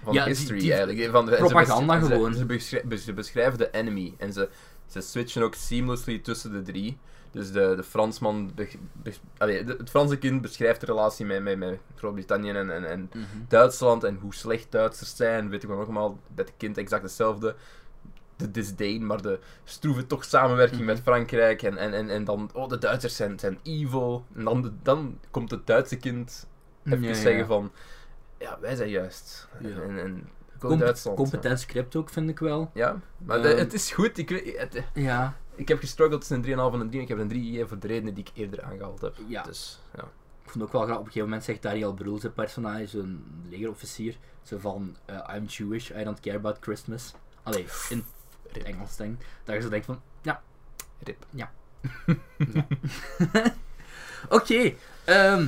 S1: van
S2: Ja, die-
S1: history
S2: die-
S1: eigenlijk. Van, de- en
S2: propaganda
S1: en
S2: gewoon.
S1: Ze, beschrij- ze beschrijven de enemy en ze, ze switchen ook seamlessly tussen de drie. Dus de, de Fransman, be, be- allee, de- het Franse kind beschrijft de relatie met, met, met Groot-Brittannië en, en, en
S2: Mhm.
S1: Duitsland en hoe slecht Duitsers zijn, weet ik wel nogmaals, bij het kind exact hetzelfde. De disdain, maar de stroeve toch samenwerking
S2: Mhm.
S1: met Frankrijk en, en, en, en dan, oh, de Duitsers zijn, zijn evil. En dan, de- dan komt het Duitse kind even
S2: Ja, ja,
S1: zeggen
S2: ja.
S1: van, ja, wij zijn juist.
S2: Ja.
S1: En, en go
S2: Compe-
S1: Duitsland.
S2: Competent script ook, vind ik wel.
S1: Ja, maar de-
S2: Ehm.
S1: het is goed. Ik, weet- het-
S2: Ja.
S1: ik heb gestruggeld tussen een 3,5 en een 3. Ik heb een 3 gegeven voor de redenen die ik eerder aangehaald heb.
S2: Ja.
S1: Dus, ja.
S2: Ik vond ook wel grappig, op een gegeven moment zegt Daniel Brühl zijn personage, zo'n legerofficier, zo van, eh, I'm Jewish, I don't care about Christmas. Allee, in het Engels denk Dat je zo denkt van, ja,
S1: Rip.
S2: Ja. Ja. Oké, ehm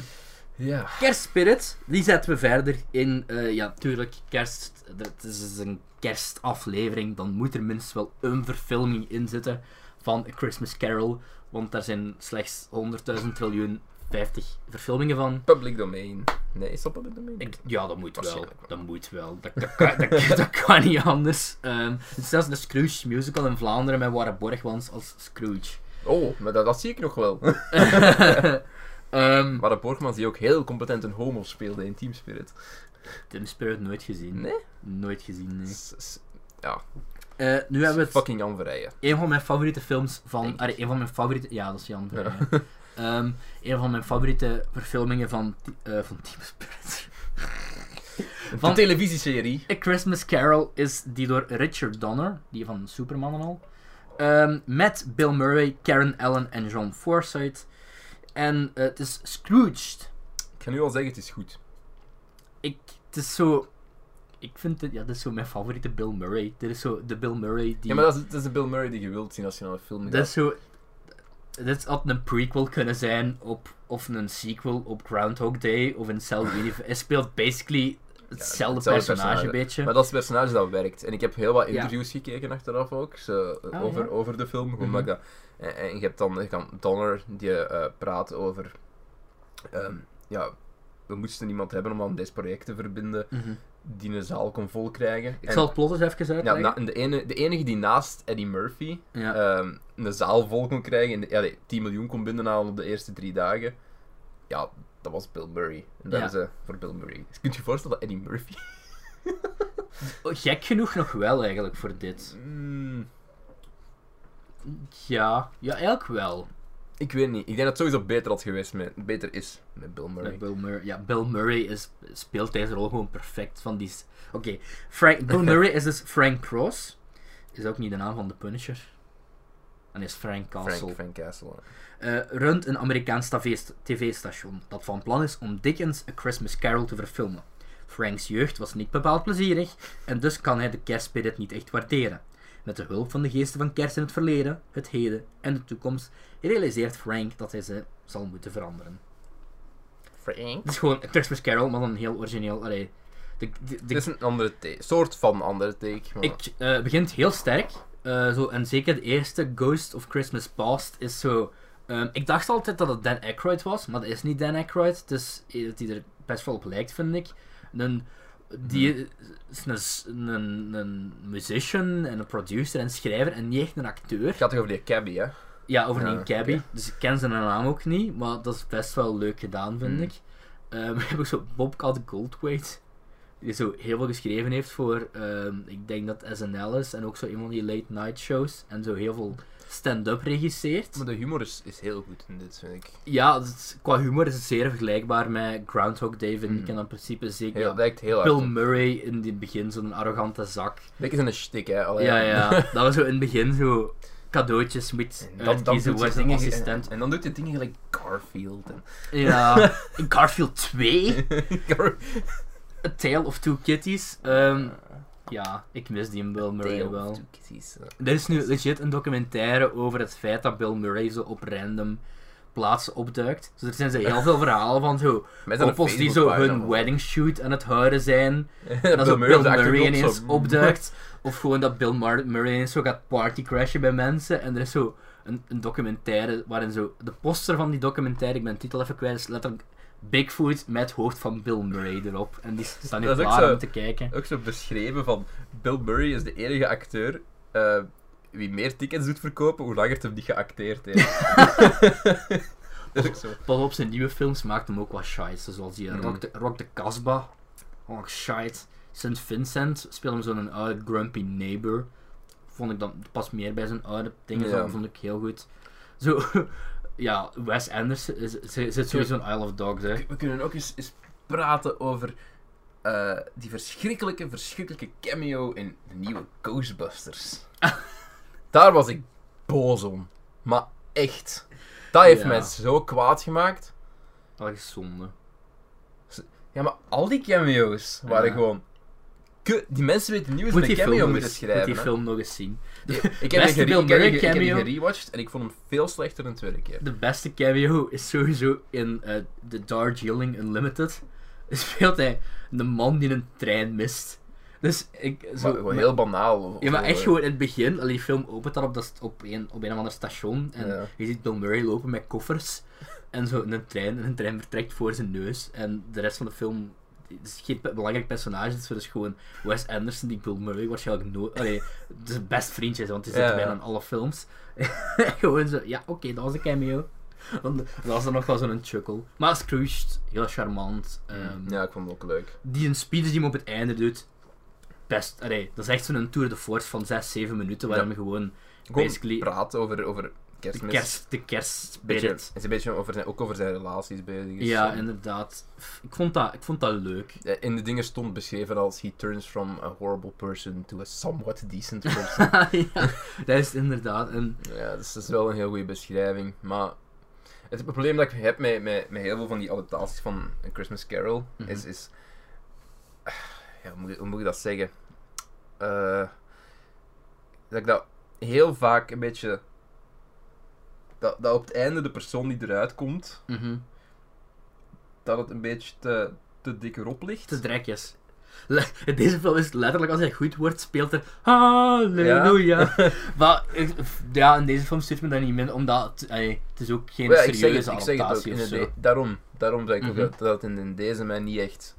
S1: Ja.
S2: Kerstspirit, die zetten we verder in. eh, ja, tuurlijk, kerst. Het is dus een kerstaflevering. Dan moet er minstens wel een verfilming in zitten van A Christmas Carol. Want daar zijn slechts 100.000 triljoen 50 verfilmingen van.
S1: Public domain. Nee, is dat public domain?
S2: Ik, ja, dat moet wel.
S1: Waarschijnlijk wel.
S2: Dat moet wel. Dat, dat, kan, dat, dat kan niet anders. Ehm, het is zelfs de Scrooge musical in Vlaanderen met Warren Borgmans als Scrooge.
S1: Oh, maar dat, dat zie ik nog wel.
S2: Ehm,
S1: Maar de Borgmans die ook heel competent een homo speelde in Team Spirit.
S2: Tim Spirit nooit gezien.
S1: Nee?
S2: Nooit gezien, nee.
S1: S- Hm. s- Ja,
S2: Eh, nu hebben we het...
S1: fucking Jan Verrijen.
S2: een van mijn favoriete films van.
S1: Denk
S2: Allee, een van mijn favoriete. Ja, dat is Jan.
S1: Ja.
S2: Verheyen. Ehm, een van mijn favoriete verfilmingen van, Ti- eh, van Team Spirit. Van-
S1: Van televisieserie.
S2: A Christmas Carol is die door Richard Donner, die van Superman en al. ehm, met Bill Murray, Karen Allen en John Forsythe. En eh, het is Scrooged.
S1: Ik ga nu al zeggen, het is goed.
S2: Ik, het is zo. Ik vind dit, ja, dit is zo mijn favoriete Bill Murray. Dit is zo de Bill Murray
S1: Ja,
S2: die.
S1: maar dat is, dat is de Bill Murray die je wilt zien als je naar een film gaat.
S2: Dat is zo. Dit had een prequel kunnen zijn op, of een sequel op Groundhog Day of in hetzelfde universum. Hij speelt basically hetzelfde
S1: hetzelfde
S2: personage, een
S1: personage.
S2: beetje.
S1: Maar dat is het personage dat werkt. En ik heb heel wat
S2: Ja.
S1: interviews gekeken achteraf ook, zo, eh,
S2: Ah,
S1: over,
S2: ja?
S1: over de film. Gewoon omdat ik dat, en, en je hebt dan je kan Donner die eh, praat over... ehm, ja, we moesten iemand hebben om aan deze project te verbinden,
S2: Mhm.
S1: die een zaal kon vol krijgen.
S2: Ik zal het plot eens even
S1: Ja,
S2: uitleggen.
S1: na- en de, ene, de enige die naast Eddie Murphy
S2: Ja.
S1: ehm, een zaal vol kon krijgen en de- ja, nee, 10 miljoen kon binnenhalen op de eerste drie dagen, ja, dat was Bill Murray. En dat
S2: Ja.
S1: is eh, voor Bill Murray. Dus kunt je je voorstellen dat Eddie Murphy...
S2: Oh, Gek genoeg nog wel eigenlijk voor dit.
S1: Mm,
S2: Ja, ja eigenlijk wel.
S1: ik weet niet. Ik denk dat het sowieso beter had geweest met, beter is met Bill Murray.
S2: Met Bill Murray, ja, Bill Murray is, speelt deze rol gewoon perfect. Van die... s- Oké, Frank- Bill Murray is dus Frank Cross. Is ook niet de naam van de Punisher. En is Frank Castle.
S1: Frank, Frank Castle. hè.
S2: eh runt een Amerikaans tv- tv-station dat van plan is om Dickens' A Christmas Carol te verfilmen. Franks jeugd was niet bepaald plezierig en dus kan hij de kerstspirit niet echt waarderen. Met de hulp van de geesten van kerst in het verleden, het heden en de toekomst realiseert Frank dat hij ze zal moeten veranderen.
S1: Frank?
S2: Het is gewoon A Christmas Carol, maar dan heel origineel. Allee, de, de, de-
S1: Dit is een andere take. soort van andere take. maar-
S2: ik eh, begint heel sterk. Eh, zo, en zeker de eerste, Ghost of Christmas Past, is zo... ehm, ik dacht altijd dat het Dan Aykroyd was, maar dat is niet Dan Aykroyd. Het is eh, dat die er best wel op lijkt, vind ik. Een, die is een, s- een, een musician en een producer en schrijver en niet echt een acteur.
S1: Het gaat toch over die cabbie, hè?
S2: Ja, over
S1: Ja,
S2: een cabbie.
S1: Ah, oké.
S2: Dus ik ken zijn naam ook niet, maar dat is best wel leuk gedaan, vind
S1: Mm.
S2: ik. Ehm, we hebben ook zo Bobcat Goldthwait, die zo heel veel geschreven heeft voor, ehm, ik denk dat SNL is, en ook zo een van die late night shows, en zo heel veel stand-up regisseert.
S1: Maar de humor is, is heel goed in dit, vind ik.
S2: Ja, dat is- qua humor is het zeer vergelijkbaar met Groundhog Day, vind ik,
S1: Mm.
S2: en in principe zeker
S1: Heel,
S2: ja,
S1: Lijkt heel
S2: Bill
S1: hard op-
S2: Murray in het begin, zo'n arrogante zak.
S1: Dit is een shtick, hè? Allee,
S2: Ja, ja, dat was zo in het begin zo cadeautjes moet
S1: En dan, dan
S2: uitkiezen
S1: doet
S2: waar
S1: hij
S2: zijn
S1: dingen
S2: assistent
S1: En, en dan doet hij dingen gelijk Garfield. En
S2: Ja, in Garfield 2?
S1: Gar-
S2: A Tale of Two Kitties. Ehm, ja, ik mis die Bill Murray wel. Er is nu legit een documentaire over het feit dat Bill Murray zo op random plaatsen opduikt. Dus er zijn zo heel veel verhalen van zo
S1: Met
S2: koppels die zo hun wedding shoot aan het houden zijn. En dat zo Bill Murray ineens opduikt. Of gewoon dat Bill Mar- Murray ineens zo gaat partycrashen bij mensen. En er is zo een, een documentaire waarin zo... De poster van die documentaire, ik ben de titel even kwijt, is letterlijk Bigfoot met het hoofd van Bill Murray erop. En die staan nu
S1: Dat is ook
S2: klaar
S1: zo.
S2: om te kijken.
S1: Ook zo beschreven van Bill Murray is de enige acteur eh, wie meer tickets doet verkopen, hoe langer het hem niet geacteerd heeft. dat is ook zo.
S2: Pas op, zijn nieuwe films maakt hem ook wat shite. Zoals die eh,
S1: Mhm.
S2: Rock, de, Rock de Casbah. Oh, shite. St. Vincent speelde hem zo'n oude grumpy neighbor. Vond ik dan pas meer bij zijn oude dingen.
S1: Ja.
S2: zo Vond ik heel goed. Zo, ja, Wes Anderson is, zit zit sowieso in Isle of Dogs, hè.
S1: We kunnen ook eens, eens praten over eh, die verschrikkelijke, verschrikkelijke cameo in de nieuwe Ghostbusters. Daar was ik boos om. Maar echt. Dat heeft
S2: Ja.
S1: mij zo kwaad gemaakt.
S2: Dat is zonde.
S1: Ja, maar al die cameo's waren
S2: Ja.
S1: gewoon... Ke- die mensen weten niet hoe
S2: Moet
S1: ze
S2: die,
S1: een
S2: film
S1: cameo
S2: nog
S1: moeten
S2: eens, moet
S1: schrijven.
S2: die
S1: hè.
S2: film nog eens zien.
S1: Ik heb,
S2: Beste
S1: die gere- ik, heb
S2: Bill
S1: die
S2: Murray
S1: ge- ik heb die
S2: cameo.
S1: gerewatcht en ik vond hem veel slechter een tweede keer.
S2: De beste cameo is sowieso in eh The Darjeeling Unlimited. Speelt hij de man die een trein mist. Dus ik... Zo,
S1: Maar gewoon heel banaal. of-
S2: Ja, maar
S1: of,
S2: echt
S1: eh,
S2: gewoon in het begin. Allee, die film opent dan op, dat, st- op, een, op een of ander station. En
S1: Ja.
S2: je ziet Bill Murray lopen met koffers. En zo in een trein. En een trein vertrekt voor zijn neus. En de rest van de film het is geen pe- belangrijk personage. Het is dus gewoon Wes Anderson die Bill Murray waarschijnlijk nooit... Allee, zijn best vriendje is, want die zit
S1: Ja.
S2: bijna in alle films. gewoon zo, ja, oké, dat was een cameo. Want dat was dan nog wel zo'n chuckle. Maar Scrooged, heel charmant. ehm,
S1: Mm. Ja, ik vond hem ook leuk.
S2: die een speech die hem op het einde doet, best. Allee, dat is echt zo'n Tour de Force van 6, 7 minuten, waar
S1: Ja.
S2: hem gewoon
S1: Gewoon
S2: Basically-
S1: praat over, over
S2: de
S1: kerstmis.
S2: kerst, de
S1: Beetje, het
S2: kerstspirit.
S1: is een beetje over zijn, ook over zijn relaties bezig. is.
S2: Ja, inderdaad. F- Ik vond dat, ik vond dat leuk.
S1: Eh, In de dingen stond beschreven als he turns from a horrible person to a somewhat decent person.
S2: ja, dat is inderdaad. En
S1: ja, dus dat is wel een heel goede beschrijving. Maar het probleem dat ik heb met, met, met heel veel van die adaptaties van A Christmas Carol
S2: Mhm.
S1: is... is ah, ja, hoe, moet ik, hoe moet ik dat zeggen? Eh, dat ik dat heel vaak een beetje... Dat, dat op het einde de persoon die eruit komt,
S2: mhm,
S1: dat het een beetje te, te dik erop ligt.
S2: te drekjes. Le- in Deze film is letterlijk, als hij goed wordt, speelt er Halleluja. Maar ik- f- ja, in deze film stuurt me dat niet min, omdat het, allee, het is ook geen
S1: Maar Oh ja, ik zeg
S2: serieuze
S1: het, ik zeg het ook.
S2: adaptatie
S1: In
S2: of
S1: de
S2: zo.
S1: de- daarom, daarom zeg ik ook
S2: Mhm.
S1: dat, dat in, in deze mij niet echt.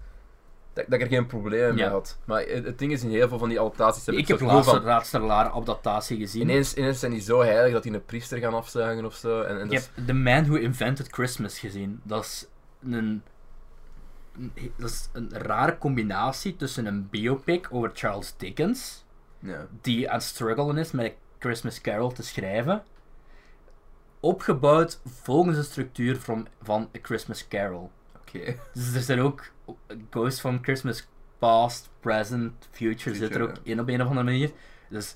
S1: Dat, dat ik er geen probleem mee
S2: Ja.
S1: had. Maar het, het ding is, in heel veel van die adaptaties heb ik,
S2: Ik heb
S1: het gevoel
S2: laatst
S1: van.
S2: een laatste rare adaptatie gezien.
S1: Ineens, ineens zijn die zo heilig dat die een priester gaan afzuigen of zo. En, en
S2: Ik
S1: dat is-
S2: heb The Man Who Invented Christmas gezien. Dat is een, een- dat is een rare combinatie tussen een biopic over Charles Dickens,
S1: ja.
S2: die aan het struggelen is met Christmas Carol te schrijven, opgebouwd volgens de structuur van, van A Christmas Carol.
S1: Oké.
S2: Dus er zijn ook Ghost van Christmas Past, Present, Future, zit er
S1: Future,
S2: ook
S1: ja.
S2: in op een of andere manier. Dus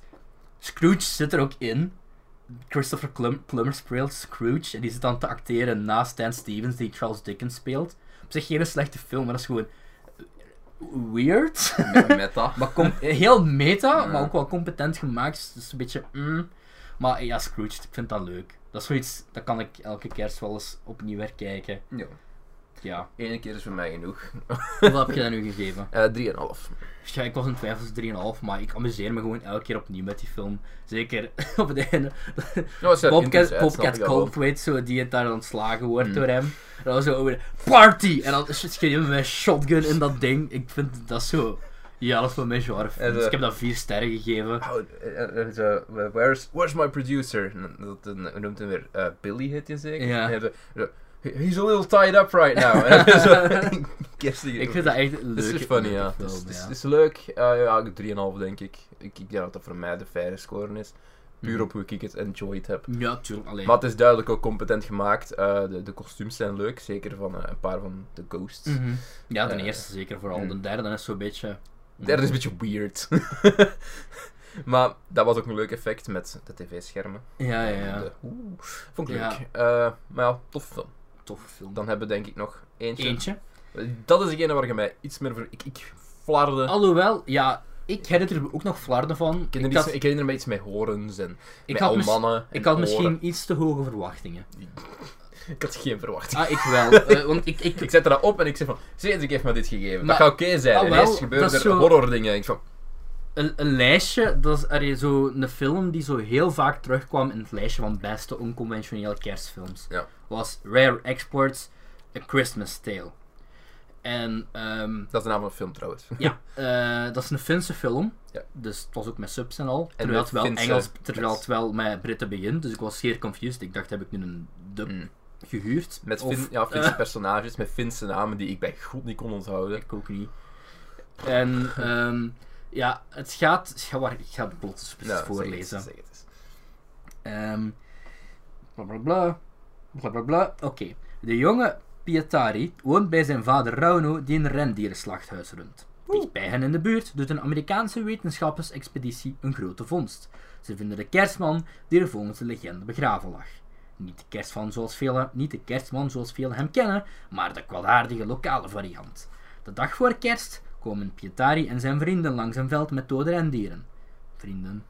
S2: Scrooge zit er ook in. Christopher Plum Plummer speelt Scrooge en die zit dan te acteren naast Stan Stevens die Charles Dickens speelt. Op zich geen slechte film, maar dat is gewoon weird.
S1: Met- Meta.
S2: maar com- heel meta,
S1: Ja.
S2: maar ook wel competent gemaakt. Dus een beetje mm. Maar ja, Scrooge, ik vind dat leuk. Dat is zoiets, dat kan ik elke kerst wel eens opnieuw herkijken.
S1: Ja.
S2: Ja.
S1: Eén keer is voor mij genoeg.
S2: Hoeveel heb je dat nu gegeven?
S1: Eh 3,5.
S2: Ja, ik was in twijfels 3,5, maar ik amuseer me gewoon elke keer opnieuw met die film. Zeker op het einde.
S1: Nou, als je dat intens
S2: Popcat,
S1: uit, snap
S2: Popcat
S1: ik al wel.
S2: Goldthwait, zo, die het daar ontslagen wordt
S1: Hmm.
S2: door hem. En dan zo weer party! En dan schiet je met een shotgun in dat ding. Ik vind dat zo... Ja, dat is wel mijn genre.
S1: En,
S2: Dus
S1: eh,
S2: ik heb dat vier sterren gegeven.
S1: Oh, eh, eh, zo, eh, where's, where's my producer? En Dat, dat hoe noemt hem weer Eh, Billy heet je zeker?
S2: Ja.
S1: En hij zo- "He- He's a little tied up right now. En dan zo, kerstige-
S2: Ik vind dat echt een
S1: This
S2: leuke,
S1: is funny,
S2: leuke
S1: ja.
S2: film,
S1: Het is, het is-
S2: ja.
S1: het is leuk. Eh, ja, ik 3,5 denk ik. ik. Ik denk dat dat voor mij de faire score is. Puur
S2: Mhm.
S1: op hoe ik het enjoyed heb.
S2: Ja, tuurlijk. Alleen.
S1: Maar het is duidelijk ook competent gemaakt. Eh, de, de kostuums zijn leuk, zeker van eh, een paar van de ghosts.
S2: Mhm. Ja, de
S1: Eh,
S2: eerste zeker vooral.
S1: hmm.
S2: De derde is zo'n beetje...
S1: De derde is een beetje weird. maar dat was ook een leuk effect met de tv-schermen.
S2: Ja, ja, ja.
S1: De- oeh, vond ik
S2: Ja.
S1: leuk. Eh, maar ja, tof film.
S2: Toffe film.
S1: Dan hebben we denk ik nog eentje.
S2: Eentje.
S1: Dat is degene waar je mij iets meer voor... Ik, ik flarde.
S2: Alhoewel, ja, ik herinner me ook nog flarden van.
S1: ik, herinner
S2: Oh, Ik
S1: iets-
S2: had,
S1: ik herinner me iets met horens en
S2: ik
S1: met
S2: had,
S1: al
S2: mis-
S1: mannen. en
S2: ik had
S1: oren.
S2: misschien iets te hoge verwachtingen.
S1: Ik had geen verwachting.
S2: Ah, ik wel. eh, want ik, ik,
S1: Ik zette dat op en ik zei van, Cedric heeft me dit gegeven.
S2: Maar-
S1: dat gaat oké zijn.
S2: Ah,
S1: En
S2: wel,
S1: Ineens gebeuren
S2: dat
S1: er
S2: is zo-
S1: horror dingen. Ik van,
S2: een, een lijstje, dat is er zo'n film die zo heel vaak terugkwam in het lijstje van beste onconventionele kerstfilms.
S1: Ja.
S2: Was Rare Exports, A Christmas Tale. En ehm,
S1: dat is de naam van de film trouwens.
S2: ja, eh, dat is een Finse film,
S1: Ja.
S2: dus het was ook met subs en al. Terwijl het
S1: met
S2: wel
S1: Finse
S2: Engels, terwijl het
S1: subs.
S2: wel met Britten begint, dus ik was zeer confused. Ik dacht, heb ik nu een dub
S1: Mm.
S2: gehuurd?
S1: Met
S2: Of-
S1: fin, ja, Finse
S2: eh,
S1: personages, met Finse namen die ik bij God niet kon onthouden.
S2: Ik ook niet. En ehm, ja, het gaat. Ik ga, waar- ik ga de plot eens
S1: Nou,
S2: voorlezen.
S1: Zeg het, eens, zeg
S2: Ehm bla bla bla. Bla bla bla. Oké. De jonge Pietari woont bij zijn vader Rauno, die een rendierenslachthuis runt. Dicht bij hen in de buurt doet een Amerikaanse wetenschappersexpeditie een grote vondst. Ze vinden de kerstman die er volgens de legende begraven lag. Niet de, kerstman zoals velen, niet de kerstman zoals velen hem kennen, maar de kwaadaardige lokale variant. De dag voor kerst komen Pietari en zijn vrienden langs een veld met dode rendieren. Vrienden,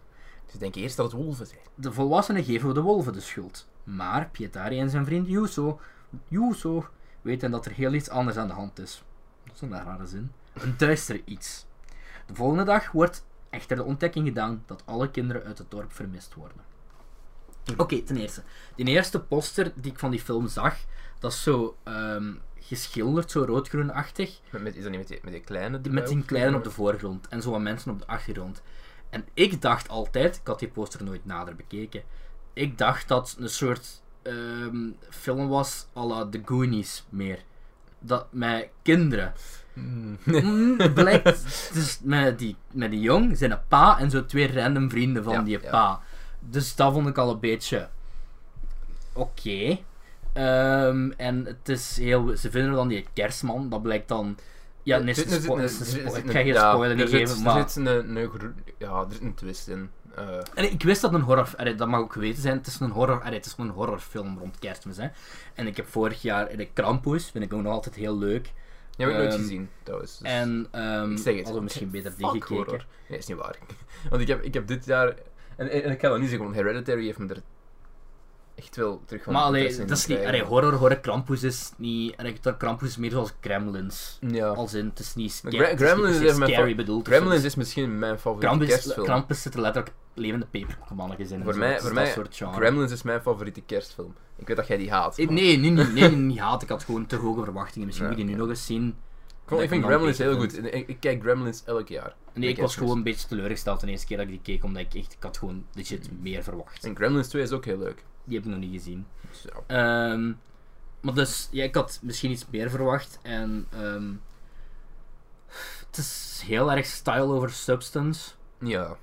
S1: het. Ze denken Dus eerst dat het wolven zijn.
S2: de volwassenen geven de wolven de schuld. Maar Pietari en zijn vriend Yuso, Yuso weten dat er heel iets anders aan de hand is. Dat is een rare zin. Een duister iets. De volgende dag wordt echter de ontdekking gedaan dat alle kinderen uit het dorp vermist worden. Oké, ten eerste. Die eerste poster die ik van die film zag, dat is zo ehm, geschilderd, zo rood-groenachtig.
S1: Met, met- is dat niet met die, met die kleine? die
S2: Met
S1: bij
S2: die
S1: ons
S2: kleinen op de
S1: komen?
S2: voorgrond en zo wat mensen op de achtergrond. En ik dacht altijd, ik had die poster nooit nader bekeken. Ik dacht dat het een soort ehm, film was à la The Goonies meer. Dat met kinderen.
S1: Hmm.
S2: Mm, het blijkt dus met die, met die jong, zijn een pa en zo twee random vrienden van
S1: Ja,
S2: die
S1: ja.
S2: pa. Dus dat vond ik al een beetje. Oké. Ehm, en het is heel. Ze vinden dan die kerstman, dat blijkt dan. Ja, nee,
S1: Eh, Er
S2: het is
S1: zit- er
S2: een
S1: zit-
S2: spo-
S1: er
S2: het is een
S1: zit- er
S2: spo-
S1: zit
S2: Ik
S1: een-
S2: ga geen
S1: ja,
S2: spoiler
S1: er
S2: niet
S1: zit-
S2: geven, maar.
S1: Er zit een, een, gro- ja, er zit een twist in. Eh,
S2: En ik wist dat een horror... allee, dat mag ook geweten zijn. Het is een, horror, allee, het is een horrorfilm rond kerstmis. Hè. En ik heb vorig jaar... eh, De Krampus vind ik ook nog altijd heel leuk.
S1: die heb ik nooit
S2: Ehm,
S1: gezien, trouwens. Dus
S2: En ehm
S1: ik zeg het.
S2: hadden we misschien beter die
S1: Fuck
S2: gekeken.
S1: horror. Nee, is niet waar. Want ik heb, ik heb dit jaar... En, en, en ik kan dat niet zeggen, want Hereditary heeft me er echt wel terug van
S2: Maar allee,
S1: interesse in
S2: dat is niet...
S1: gekregen.
S2: Allee, horror, horror, Krampus is niet... Allee, dat Krampus is meer zoals Gremlins.
S1: Ja.
S2: Als in, het is niet scary.
S1: Gra-
S2: het is niet
S1: Gremlins
S2: per se
S1: is even
S2: scary
S1: mijn
S2: bedoeld. of
S1: Gremlins
S2: zo.
S1: is misschien mijn favoriete
S2: Krampus,
S1: kerstfilm.
S2: Krampus zitten letterlijk levende peperkoekmannetjes in. en
S1: Voor
S2: zo.
S1: mij-
S2: Het is
S1: voor
S2: dat
S1: mij-
S2: soort genre.
S1: Gremlins is mijn favoriete kerstfilm. Ik weet dat jij die haat.
S2: Ik-
S1: maar-
S2: Nee, nee, nee, nee, niet haat. Ik had gewoon te hoge verwachtingen. Misschien
S1: Ja,
S2: moet je die nu nog eens zien.
S1: Ik,
S2: dat
S1: vond- ik vind
S2: ik hem dan
S1: Gremlins
S2: beter
S1: heel goed. En Ik, ik kijk Gremlins elk jaar.
S2: Nee,
S1: Bij
S2: ik was
S1: kerstmis.
S2: gewoon een beetje teleurgesteld de eerste keer dat ik die keek, omdat ik echt, ik had gewoon
S1: Mm.
S2: legit meer verwacht.
S1: En Gremlins 2 is ook heel leuk.
S2: Die heb ik nog niet gezien.
S1: Dus ja.
S2: Ehm, maar dus, ja, ik had misschien iets meer verwacht en ehm, het is heel erg style over substance.
S1: ja.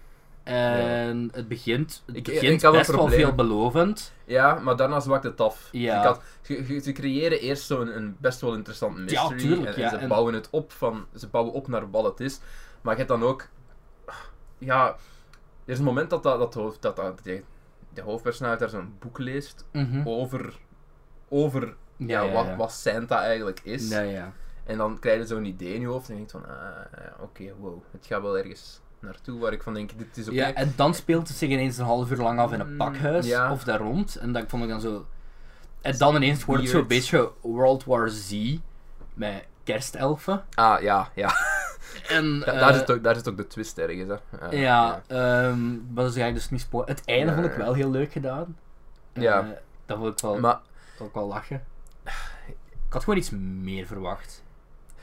S2: En het begint, het
S1: Ik- ik
S2: begint
S1: had een
S2: best wel
S1: probleem.
S2: veelbelovend.
S1: Ja, maar daarna zwakt het af.
S2: Ja.
S1: Ik had, ze, ze- ze creëren eerst zo'n een best wel interessant mystery.
S2: tuurlijk,
S1: en, en
S2: ja,
S1: ze
S2: en-
S1: bouwen het op van... Ze bouwen op naar wat het is. Maar je hebt dan ook... Ja... Er is een moment dat, dat, dat, hoofd, dat, dat die- de hoofdpersonage daar zo'n boek leest
S2: Mhm.
S1: over... Over Oh, ja,
S2: ja,
S1: wat,
S2: ja.
S1: wat Santa eigenlijk is.
S2: Ja, ja.
S1: En dan krijg je zo'n idee in je hoofd en je denkt van... Ah, ja, oké, wow. Het gaat wel ergens naartoe waar ik van denk, dit is oké.
S2: ja. En dan speelt het zich ineens een half uur lang af in een
S1: Mm,
S2: pakhuis
S1: ja.
S2: of daar rond. En dat vond ik dan zo. En dan ineens wordt het zo'n
S1: Weird.
S2: beetje World War Z met kerstelfen.
S1: Ah, ja, ja.
S2: En,
S1: Da-
S2: eh,
S1: daar, zit ook, daar zit ook de twist ergens, hè. Ah,
S2: Ja, ehm, maar dat ga ik dus niet spoor. Het einde
S1: Nee.
S2: vond ik wel heel leuk gedaan. Eh,
S1: Ja.
S2: dat wil ik wel,
S1: Maar
S2: wil ik wel lachen. Ik had gewoon iets meer verwacht.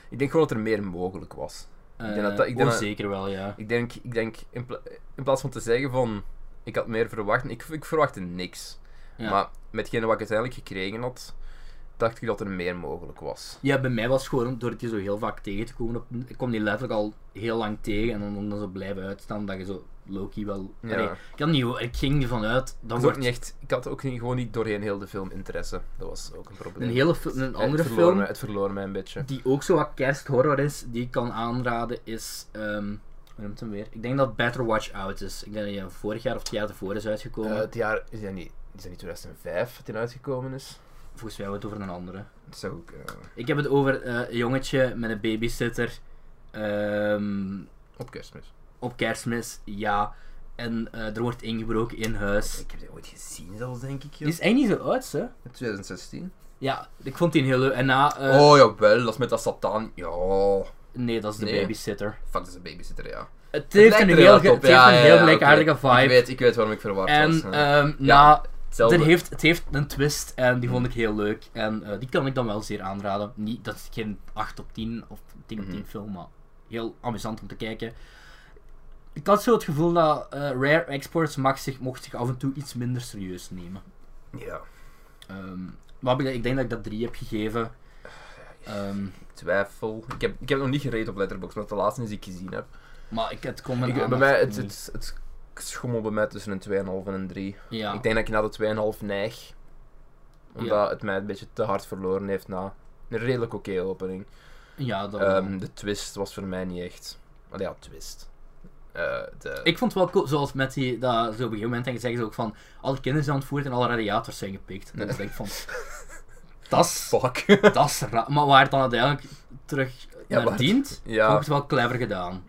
S1: Ik denk gewoon dat er meer mogelijk was.
S2: Eh,
S1: denk dat dat- ik denk
S2: oh,
S1: dat-
S2: zeker wel, ja.
S1: Ik denk, ik denk in, pla- in plaats van te zeggen van ik had meer verwacht, ik, ik verwachtte niks.
S2: Ja.
S1: Maar metgene wat ik uiteindelijk gekregen had, dacht ik dat er meer mogelijk was.
S2: Ja, bij mij was het gewoon door het je zo heel vaak tegen te komen. Op, ik kwam die letterlijk al heel lang tegen en dan, om dan zo blijven uitstaan dat je zo Loki wel.
S1: Ja.
S2: Allee, ik, had niet, ik ging ervan uit. Dan
S1: Ik had,
S2: wordt
S1: ook niet echt, ik had ook niet, gewoon niet doorheen heel de film interesse. Dat was ook een probleem.
S2: een, hele, fil- een
S1: Eh,
S2: andere
S1: het verloor
S2: film.
S1: mij- het verloor mij een beetje.
S2: die ook zo wat kersthorror is, die ik kan aanraden, is. ehm hoe noemt hem weer? Ik denk dat Better Watch Out is. Ik denk dat die vorig jaar of het jaar ervoor is
S1: Eh,
S2: uitgekomen.
S1: het jaar is dat niet, is dat niet 2005 dat die uitgekomen is?
S2: Volgens mij hebben we het over een andere.
S1: Dat zou ook... eh,
S2: Ik heb het over eh, een jongetje met een babysitter. ehm,
S1: op kerstmis.
S2: op kerstmis, ja. En eh, er wordt ingebroken in huis.
S1: Ik heb die ooit gezien zelfs, denk ik,
S2: Die
S1: joh.
S2: is eigenlijk niet zo oud, hè?
S1: In 2016.
S2: Ja, ik vond die een heel leuk. En na... eh,
S1: oh, jawel, dat is met dat satan. Ja,
S2: Nee, dat is de
S1: Nee.
S2: babysitter.
S1: fuck, dat is een babysitter, ja.
S2: Het heeft
S1: lijkt
S2: een
S1: er
S2: heel,
S1: inderdaad
S2: ge-
S1: op,
S2: het heeft
S1: ja,
S2: een
S1: ja,
S2: heel
S1: ja,
S2: gelijkaardige
S1: Ik
S2: vibe.
S1: weet, ik weet waarom ik verward
S2: En
S1: was. ja.
S2: ehm,
S1: Ja,
S2: na,
S1: Hetzelfde.
S2: er heeft, het heeft een twist en die vond ik heel leuk. En eh, die kan ik dan wel zeer aanraden. Niet, dat is geen 8 op 10 of 10 op 10
S1: Mhm.
S2: film, maar heel amusant om te kijken. Ik had zo het gevoel dat eh, Rare Exports mag zich, mocht zich af en toe iets minder serieus nemen.
S1: Ja,
S2: Ehm, maar ik ik denk dat ik dat 3 heb gegeven. Ehm,
S1: ik twijfel. Ik heb, ik heb nog niet gereed op Letterboxd, maar dat is de laatste is die ik gezien heb.
S2: maar nou, ik, het komt
S1: Ik- bij mij, het, het, het schommelt bij mij tussen een 2,5 en een 3.
S2: ja.
S1: Ik denk dat ik naar de 2,5 neig. Omdat
S2: Ja.
S1: het mij een beetje te hard verloren heeft na een redelijk oké opening.
S2: ja, dat wel.
S1: Ehm, de twist was voor mij niet echt. Maar ja, twist. Eh, de...
S2: Ik vond het wel cool, zoals met die, dat zo op een gegeven moment dan zeggen ze ook van, alle kinderen zijn ontvoerd en alle radiators zijn gepikt. En dan denk ik van, dat is,
S1: Fuck.
S2: dat is raar. Maar waar het dan uiteindelijk terug
S1: Ja,
S2: naar
S1: maar-
S2: dient,
S1: ja.
S2: vond ik het wel clever gedaan.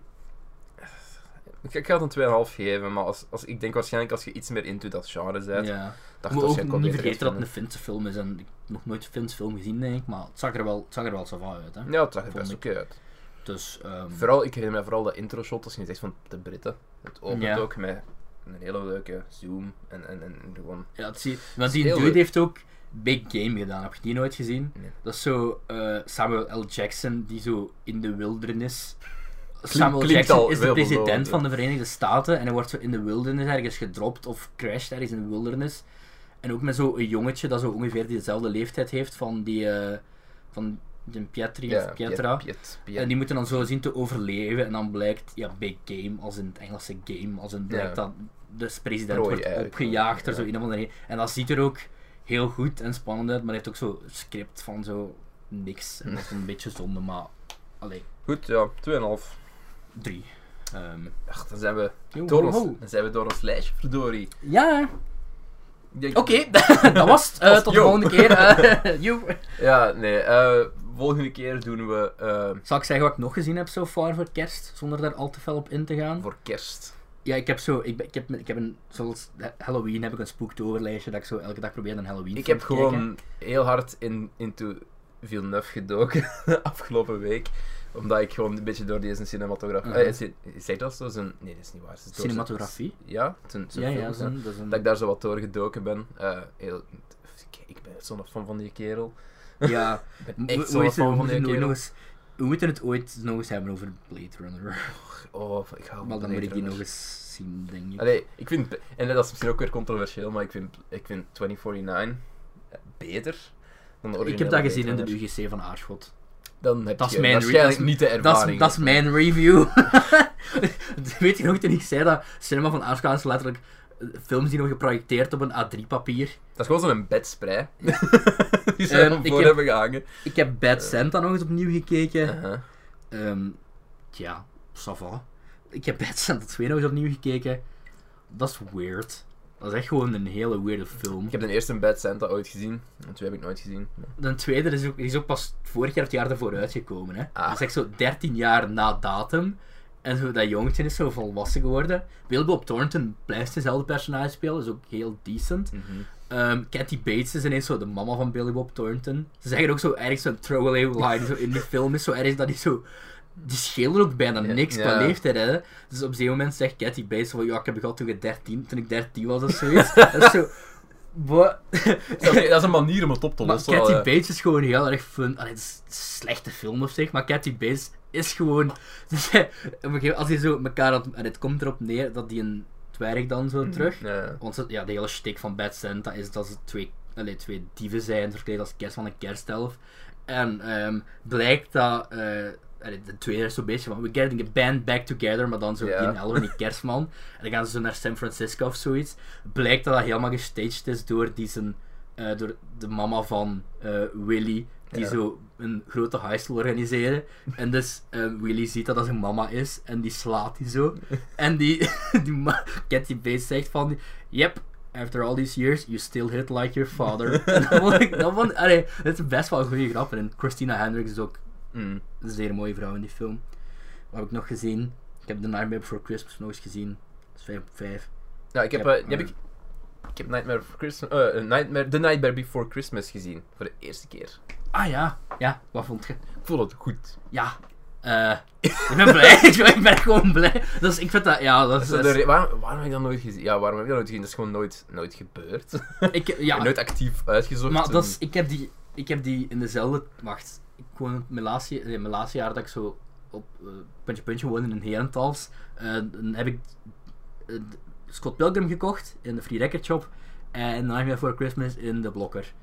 S1: Ik, ik ga het een 2,5 geven, maar als, als, ik denk waarschijnlijk als je iets meer into dat genre bent,
S2: Ja.
S1: dat
S2: Ik
S1: je
S2: moet
S1: het
S2: ook
S1: waarschijnlijk
S2: niet
S1: wel beter gaat
S2: vergeten dat het een
S1: vinden.
S2: Finse film is en ik heb nog nooit een Finse film gezien, denk ik, maar het zag er wel, het zag er wel zo van uit. Hè.
S1: Ja, het zag er
S2: vond
S1: best
S2: ik.
S1: oké uit.
S2: Dus, ehm,
S1: Vooral, ik herinner me vooral dat intro shot, als je het zegt van de Britten. Het opent
S2: Ja.
S1: ook met een hele leuke zoom en, en, en gewoon...
S2: ja, het zie, want die
S1: heel
S2: dude
S1: leuk.
S2: heeft ook Big Game gedaan, heb je die nooit gezien?
S1: Nee.
S2: Dat is zo eh, Samuel L. Jackson die zo in de wildernis. Samuel
S1: klinkt
S2: Jackson
S1: al
S2: is de
S1: heel
S2: president
S1: belovend,
S2: van
S1: ja.
S2: de Verenigde Staten en hij wordt zo in de wildernis ergens gedropt of crasht ergens in de wildernis. En ook met zo'n jongetje dat zo ongeveer dezelfde leeftijd heeft van die. eh, van die Pietri of Pietra.
S1: Piet, Piet, Piet.
S2: En die moeten dan zo zien te overleven en dan blijkt, ja, big game, als in het Engelse game, als in blijkt
S1: Ja.
S2: dat de president
S1: Prooi
S2: wordt
S1: eigenlijk,
S2: opgejaagd door
S1: ja.
S2: zo een of andere reden. En dat ziet er ook heel goed en spannend uit, maar hij heeft ook zo een script van zo niks. En dat is een beetje zonde, maar, allee,
S1: Goed, ja, 2,5.
S2: drie. Ehm,
S1: Ach, dan zijn, we
S2: yo,
S1: door
S2: ho, ho.
S1: ons, dan zijn we door ons lijstje, verdorie.
S2: Ja,
S1: Ik denk-
S2: oké, dat was het. Eh,
S1: Dat was-
S2: tot de
S1: yo.
S2: volgende keer. Eh, yo.
S1: Ja, nee, eh, volgende keer doen we eh,
S2: Zal ik zeggen wat ik nog gezien heb so far voor kerst, zonder daar al te fel op in te gaan?
S1: voor kerst.
S2: Ja, ik heb zo, ik, ben- ik heb, ik heb een, zoals eh, Halloween heb ik een spooktoverlijstje dat ik zo elke dag probeer een Halloween
S1: Ik
S2: film
S1: heb
S2: te kijken.
S1: gewoon heel hard in, into Villeneuve gedoken afgelopen week. Omdat ik gewoon een beetje door deze cinematografie...
S2: Mhm.
S1: eh, is het- is zeg dat zo? Zijn, nee, dat is niet waar. Het is door zijn-
S2: Cinematografie?
S1: ja, zijn, zijn
S2: Ja, ja,
S1: films, hè.
S2: zo'n- dat is een...
S1: Dat ik daar zo wat door gedoken ben. Eh, heel, ik ben zo'n fan van die kerel.
S2: Ja,
S1: Ik ben
S2: Mo-
S1: echt
S2: hoe
S1: zo'n
S2: is het-
S1: fan
S2: we
S1: van die
S2: moeten het nog
S1: kerel.
S2: eens- we moeten het ooit nog eens hebben over Blade Runner.
S1: Oh, ik hou
S2: Maar
S1: van
S2: dan moet ik die
S1: Blade
S2: nog
S1: Runner.
S2: eens zien, denk ik.
S1: Allee, ik vind... En dat is misschien ook weer controversieel, maar ik vind, ik vind 2049 beter dan de
S2: ik heb dat
S1: originele
S2: gezien in de
S1: Blade Runner.
S2: UGC van Aarschot.
S1: Dan heb
S2: Dat is
S1: je
S2: mijn re-
S1: waarschijnlijk
S2: dat is-
S1: niet de ervaring.
S2: Dat is, dat is
S1: met-
S2: mijn review. Weet je nog toen ik zei dat Cinema van Aarschot is letterlijk eh, films die nog geprojecteerd op een A3-papier.
S1: Dat is gewoon zo'n bedspray. die ze
S2: Ehm,
S1: ervoor
S2: ik heb-
S1: hebben gehangen.
S2: Ik heb
S1: Eh.
S2: Bad Santa nog eens opnieuw gekeken.
S1: Uh-huh.
S2: Ehm ja, ça va. Ik heb Bad Santa 2 nog eens opnieuw gekeken. Dat is weird. Dat is echt gewoon een hele weirde film.
S1: Ik heb de eerste Bad Santa ooit gezien. En twee heb ik nooit gezien.
S2: De tweede is ook, is ook pas vorig jaar of het jaar ervoor uitgekomen. Hè?
S1: Ah.
S2: Dat is echt zo 13 jaar na datum. En zo, dat jongetje is zo volwassen geworden. Wilbob Thornton blijft dezelfde personage spelen. Is ook heel decent.
S1: Mhm.
S2: Ehm Kathy Bates is ineens zo de mama van Billy Bob Thornton. Ze zeggen ook zo ergens zo'n throwaway line zo in die film is zo ergens dat die zo... Die schelen ook bijna
S1: Ja,
S2: niks qua
S1: ja.
S2: leeftijd, hè. Dus op zo'n moment zegt Kathy Bates van, ja, ik heb gehad toen, je 13, toen ik 13 was of zoiets. dat is zo... Wat?
S1: Dat, is, dat is een manier om het op te
S2: Maar
S1: lossen.
S2: Kathy
S1: wel, ja.
S2: Bates is gewoon heel erg fun. Allee, het is een slechte film op zich, maar Kathy Bates is gewoon... op een gegeven moment, Als die zo met elkaar... had- En het komt erop neer dat die een dwerg dan zo terug...
S1: Mm, Ja.
S2: Want ze- ja, de hele shtick van Bad Santa is dat ze twee, allee, twee dieven zijn, verkleed als kerst van een kerstelf. En ehm, blijkt dat... eh, allee, de tweede is zo'n beetje van... We're getting the band back together, maar dan zo
S1: Ja.
S2: die elf en die kerstman. En dan gaan ze zo naar San Francisco of zoiets. Blijkt dat dat helemaal gestaged is door die zijn... eh, door de mama van eh, Willy, die
S1: Ja.
S2: zo een grote heist wil organiseren. En dus eh, Willy ziet dat dat zijn mama is en die slaat die zo. En die, die ma- Kathy Bates zegt van, yep, After all these years, you still hit like your father. En dat vond ik, dat vond, allee, het is best wel een goede grap. En Christina Hendricks is ook
S1: Mm.
S2: een zeer mooie vrouw in die film. Wat heb ik nog gezien? Ik heb The Nightmare Before Christmas nog eens gezien. Dat is 5 op 5.
S1: Ja, ik heb,
S2: Ja,
S1: eh, die heb ik, ik heb Nightmare, Before Christmas, eh, eh, Nightmare, The Nightmare Before Christmas gezien. Voor de eerste keer.
S2: Ah ja, ja, wat vond je?
S1: Ik voel het goed.
S2: Ja, eh, ik ben blij. ik ben- ik ben gewoon blij. Dus ik vind dat, ja, dat is...
S1: Zo
S2: dat
S1: de
S2: is-
S1: re- waarom, waarom heb ik dat nooit gezien? Ja, waarom heb ik dat nooit gezien? Dat is gewoon nooit, nooit gebeurd.
S2: ik,
S1: Ik
S2: ja,
S1: heb nooit actief uitgezocht.
S2: Maar dat
S1: en-
S2: is, ik, heb die, ik heb die in dezelfde. Wacht, ik woon in mijn laatste, nee, mijn laatste jaar dat ik zo op eh, puntje puntje woonde in Herentals. eh, dan heb ik eh, d- Scott Pilgrim gekocht in de Free Record Shop. En Nightmare for Christmas in de Blokker.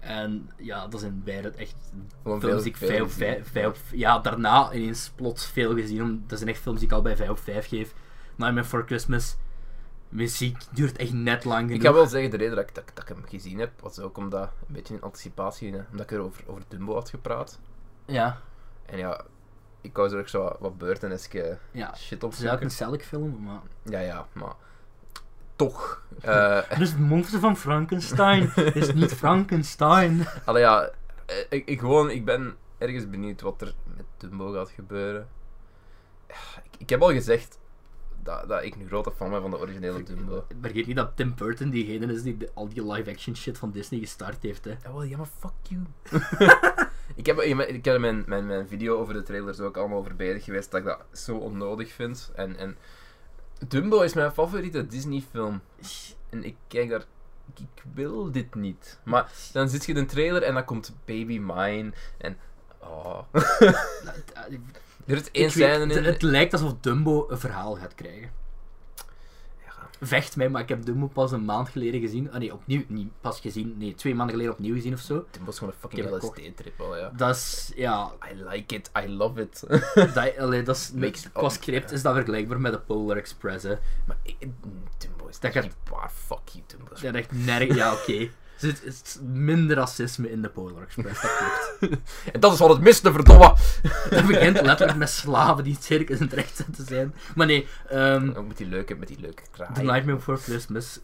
S2: En ja, dat zijn beide echt
S1: Gewoon
S2: films die ik
S1: veel-
S2: 5 op
S1: veel
S2: vijf- vijf op- Ja, daarna ineens plots veel gezien. om- Dat zijn echt films die ik al bij 5 op 5 geef. Nightmare for Christmas. Muziek duurt echt net lang genoeg.
S1: Ik ga wel zeggen, de reden dat ik, dat, ik- dat ik hem gezien heb, was ook omdat, een beetje in anticipatie, eh, omdat ik er over, over Dumbo had gepraat.
S2: Ja,
S1: En ja, ik wou er ook zo wat- wat beurteneske shit
S2: ja. Het is eigenlijk
S1: opzoeken.
S2: een Selleck film, maar...
S1: Ja, ja, maar toch. Eh
S2: Dus Het is het monster van Frankenstein. Het is niet Frankenstein.
S1: allee, ja, eh, ik, ik gewoon, ik ben ergens benieuwd wat er met Dumbo gaat gebeuren. Ja, Ik, ik heb al gezegd dat, dat ik een grote fan ben van de originele Dumbo.
S2: Vergeet niet dat Tim Burton diegene is die de- al die live-action shit van Disney gestart heeft. Hè.
S1: Ja, wel, ja, maar fuck you. ik heb, ik ben- ik heb mijn, mijn, mijn video over de trailers ook allemaal over bezig geweest dat ik dat zo onnodig vind. En, en Dumbo is mijn favoriete Disney-film. En ik kijk daar. Ik, ik wil dit niet. Maar dan zit je in de trailer en dan komt Baby Mine. En. Oh.
S2: Nou, het- eh, ik
S1: er is één
S2: weet-
S1: scène in.
S2: het, het lijkt alsof Dumbo een verhaal gaat krijgen.
S1: Ja.
S2: Vecht mij, maar ik heb Dumbo pas een maand geleden gezien. Ah nee, opnieuw, niet pas gezien. Nee, twee maanden geleden opnieuw gezien of zo.
S1: Dumbo is gewoon een
S2: Ik
S1: fucking
S2: heb dat
S1: LSD-trip al, ja.
S2: Dat is, ja,
S1: I like it, I love it.
S2: dat, allee, dat is,
S1: Mixed
S2: qua
S1: up,
S2: script is dat vergelijkbaar met de Polar Express. Hè.
S1: maar ik, Dumbo is dat
S2: Dat gaat-
S1: niet waar. Fuck you, Dumbo.
S2: Ja, echt nergens. Ja, oké. Er zit er is minder racisme in de Polar Express, dat klopt.
S1: En dat is wat het miste, verdomme!
S2: Dat begint letterlijk met slaven die het circus in het recht zetten zijn. Maar nee, ehm,
S1: Ook met die leuke, met die leuke kraai.
S2: The Nightmare Before Christmas,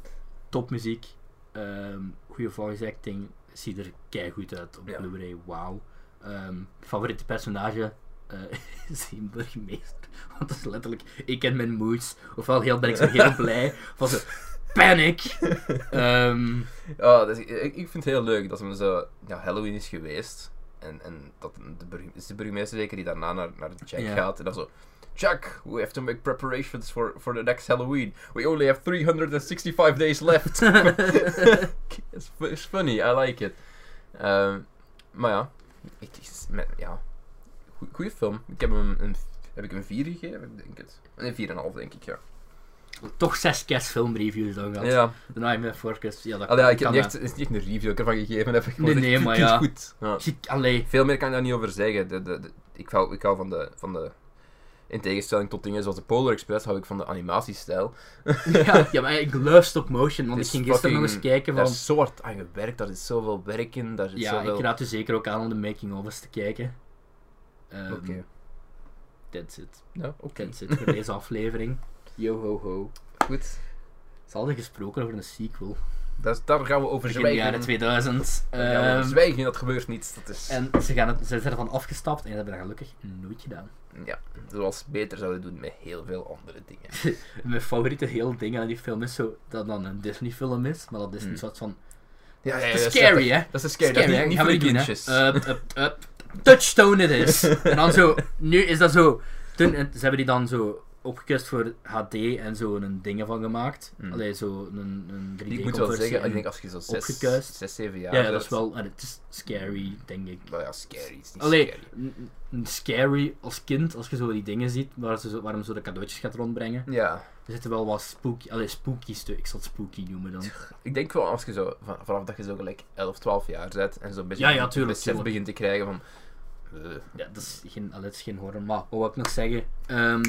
S2: topmuziek, ehm goede voice acting, ziet er keigoed uit op
S1: Ja.
S2: Blu-ray, wauw. Ehm, favoriete personage eh, is die burgemeester. Want dat is letterlijk, ik ken mijn moods, ofwel heel ben ik zo heel blij, of zo, panic. Ehm,
S1: Ja, dus ik, ik ik vind het heel leuk dat hem zo... Ja, Halloween is geweest. En, en dat de, burg- is de burgemeester zeker die daarna naar, naar Jack
S2: Ja.
S1: gaat. En dan zo... Jack, we have to make preparations for, for the next Halloween. We only have 365 days left. it's, fu- it's funny, I like it. Ehm, maar ja, ik, is met- ja. Goe- goeie film. Ik heb hem een, heb ik een 4 gegeven, ik denk het. Een 4,5 denk ik, ja.
S2: toch zes kerstfilmreviews dan gehad.
S1: Ja,
S2: The Nightmare Before Christmas, ja dat
S1: Allee, ja, ik heb
S2: kan
S1: niet
S2: dat.
S1: echt, het is niet echt een review dat ik ervan gegeven heb. Gewoon
S2: Nee, nee,
S1: echt,
S2: maar
S1: ik vind
S2: ja.
S1: het goed. Ja.
S2: Zie- Allee,
S1: Veel meer kan ik daar niet over zeggen. De, de, de- ik, hou, ik hou van de, van de... In tegenstelling tot dingen zoals de Polar Express hou ik van de animatiestijl.
S2: ja, ja, maar ik love stop motion, want
S1: Het
S2: ik
S1: is
S2: ging gisteren nog eens
S1: fucking-
S2: kijken
S1: Daar
S2: van...
S1: is zo hard aan gewerkt, daar is zoveel werk in, daar zit
S2: Ja,
S1: zoveel...
S2: ik raad u zeker ook aan om de making-ofs te kijken. Ehm,
S1: Oké.
S2: That's it.
S1: Ja, oké.
S2: That's it voor deze aflevering. Yo ho ho.
S1: Goed.
S2: Ze hadden gesproken over een sequel.
S1: Dat is- daar gaan we over
S2: Begin de jaren
S1: zwijgen.
S2: 2000.
S1: Daar gaan we over
S2: Ehm,
S1: zwijgen, dat gebeurt niet. Dat is...
S2: en ze, gaan het, ze zijn ervan afgestapt en dat hebben dat gelukkig nooit gedaan.
S1: Ja, zoals beter zouden doen met heel veel andere dingen.
S2: Mijn favoriete heel ding aan die film is zo, dat dan een Disney film is, maar dat is een
S1: Hmm.
S2: soort van...
S1: Ja, ja, ja,
S2: Dat is
S1: dat is
S2: scary hè?
S1: Dat is scary, dat is
S2: hè?
S1: niet, niet
S2: Gaan
S1: voor
S2: we
S1: de
S2: niet doen, hè? Eh,
S1: kindjes.
S2: Up, up, up. Touchstone it is. en dan zo, nu is dat zo. Toen, en ze hebben die dan zo opgekust voor HD en zo een dingen van gemaakt.
S1: Hmm.
S2: Allee, zo een, een 3D
S1: Ik moet wel zeggen, ik denk oh als je zo
S2: opgekuist.
S1: 6, 7 jaar
S2: Ja, ja, dat
S1: bent,
S2: is wel... en Het is scary, denk ik.
S1: Nou ja, scary. Het is niet
S2: Allee,
S1: scary.
S2: n- n- scary als kind, als je zo die dingen ziet, waar ze zo, waarom zo de cadeautjes gaat rondbrengen.
S1: Ja,
S2: Er zitten wel wat spooky... Allee, spooky stukken. Ik zal het spooky noemen dan.
S1: ik denk wel als je zo, van- vanaf dat je zo gelijk 11, 12 jaar bent en zo'n beetje
S2: Ja, ja,
S1: een
S2: tuurlijk,
S1: besef
S2: tuurlijk.
S1: begint te krijgen van... eh,
S2: Ja, dat is geen, allee, dat is geen horror, maar wat wil ik nog zeggen? Ehm,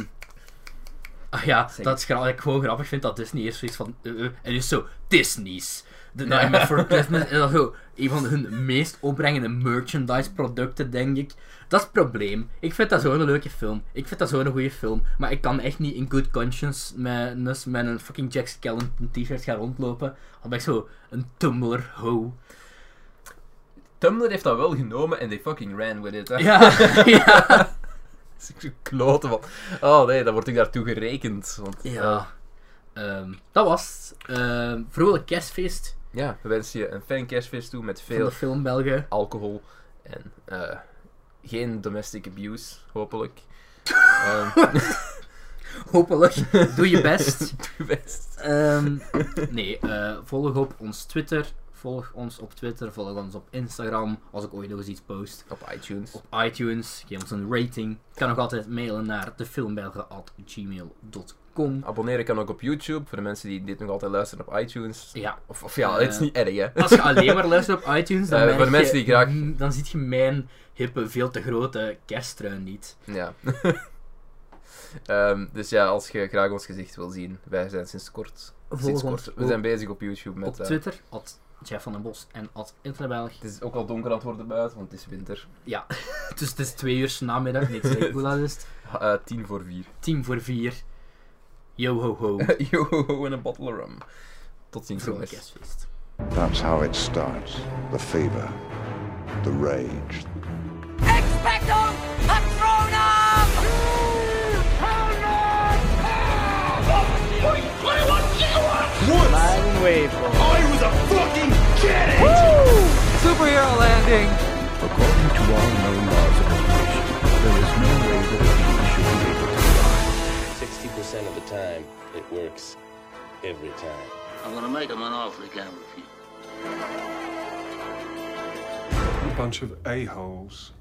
S2: Ah ja,
S1: Zeg
S2: dat is gra- wat ik gewoon grappig vind dat Disney eerst zoiets van. eh, eh, en is zo, Disney's. The Nightmare for Christmas is dat zo een van hun meest opbrengende merchandise producten, denk ik. Dat is het probleem. Ik vind dat zo'n leuke film. Ik vind dat zo'n goede film. Maar ik kan echt niet in good conscience met, dus met een fucking Jack Skellington t-shirt gaan rondlopen. Dan ben ik zo een Tumblr ho.
S1: Tumblr heeft dat wel genomen en they fucking ran with it. Hè.
S2: Ja, ja.
S1: Dat is een klote van. Oh nee, dan word ik daartoe gerekend. Want, eh,
S2: ja. Ehm, dat was het. Ehm, vrolijk kerstfeest
S1: ja, we wensen je een fijn kerstfeest toe met
S2: van
S1: veel
S2: de film Belgen.
S1: alcohol en eh, geen domestic abuse, hopelijk. Ehm,
S2: Hopelijk. Doe je best.
S1: doe best.
S2: Ehm, nee, eh, volg op ons Twitter. Volg ons op Twitter. Volg ons op Instagram. Als ik ooit nog eens iets post.
S1: Op iTunes.
S2: Op iTunes. Geef ons een rating. Kan nog altijd mailen naar defilmbelgen.gmail.com.
S1: Abonneren kan ook op YouTube, voor de mensen die dit nog altijd luisteren op iTunes.
S2: Ja.
S1: Of, of ja, het is
S2: Eh,
S1: niet erg hè.
S2: Als je alleen maar luistert op iTunes, dan,
S1: Eh,
S2: merk
S1: voor de mensen
S2: je-
S1: die graag-
S2: mm, dan ziet je mijn hippe, veel te grote kersttrui niet.
S1: Ja. Ehm, dus ja, als je graag ons gezicht wil zien, wij zijn sinds kort.
S2: Volg
S1: Sinds
S2: ons
S1: kort. We
S2: ook
S1: zijn bezig op YouTube met.
S2: op
S1: eh,
S2: Twitter, at Jeff van den Bos en at Interbelg.
S1: het is ook al donker aan het worden buiten, want het is winter.
S2: Dus het is twee uur 's namiddag, niet zeker hoe laat is het?
S1: Eh, tien voor vier.
S2: Tien voor vier. Yo ho ho.
S1: Yo, en een bottle rum. Tot ziens,
S2: Vrolijk
S1: jongens.
S2: kerstfeest.
S3: That's how it starts. The fever, the rage,
S4: Expecto Patronum!
S5: According to all known laws of evolution, there is no way that a bee should be able to fly.
S6: 60% of the time, it works every time.
S7: I'm gonna make him an offer he can't refuse.
S8: bunch of a-holes.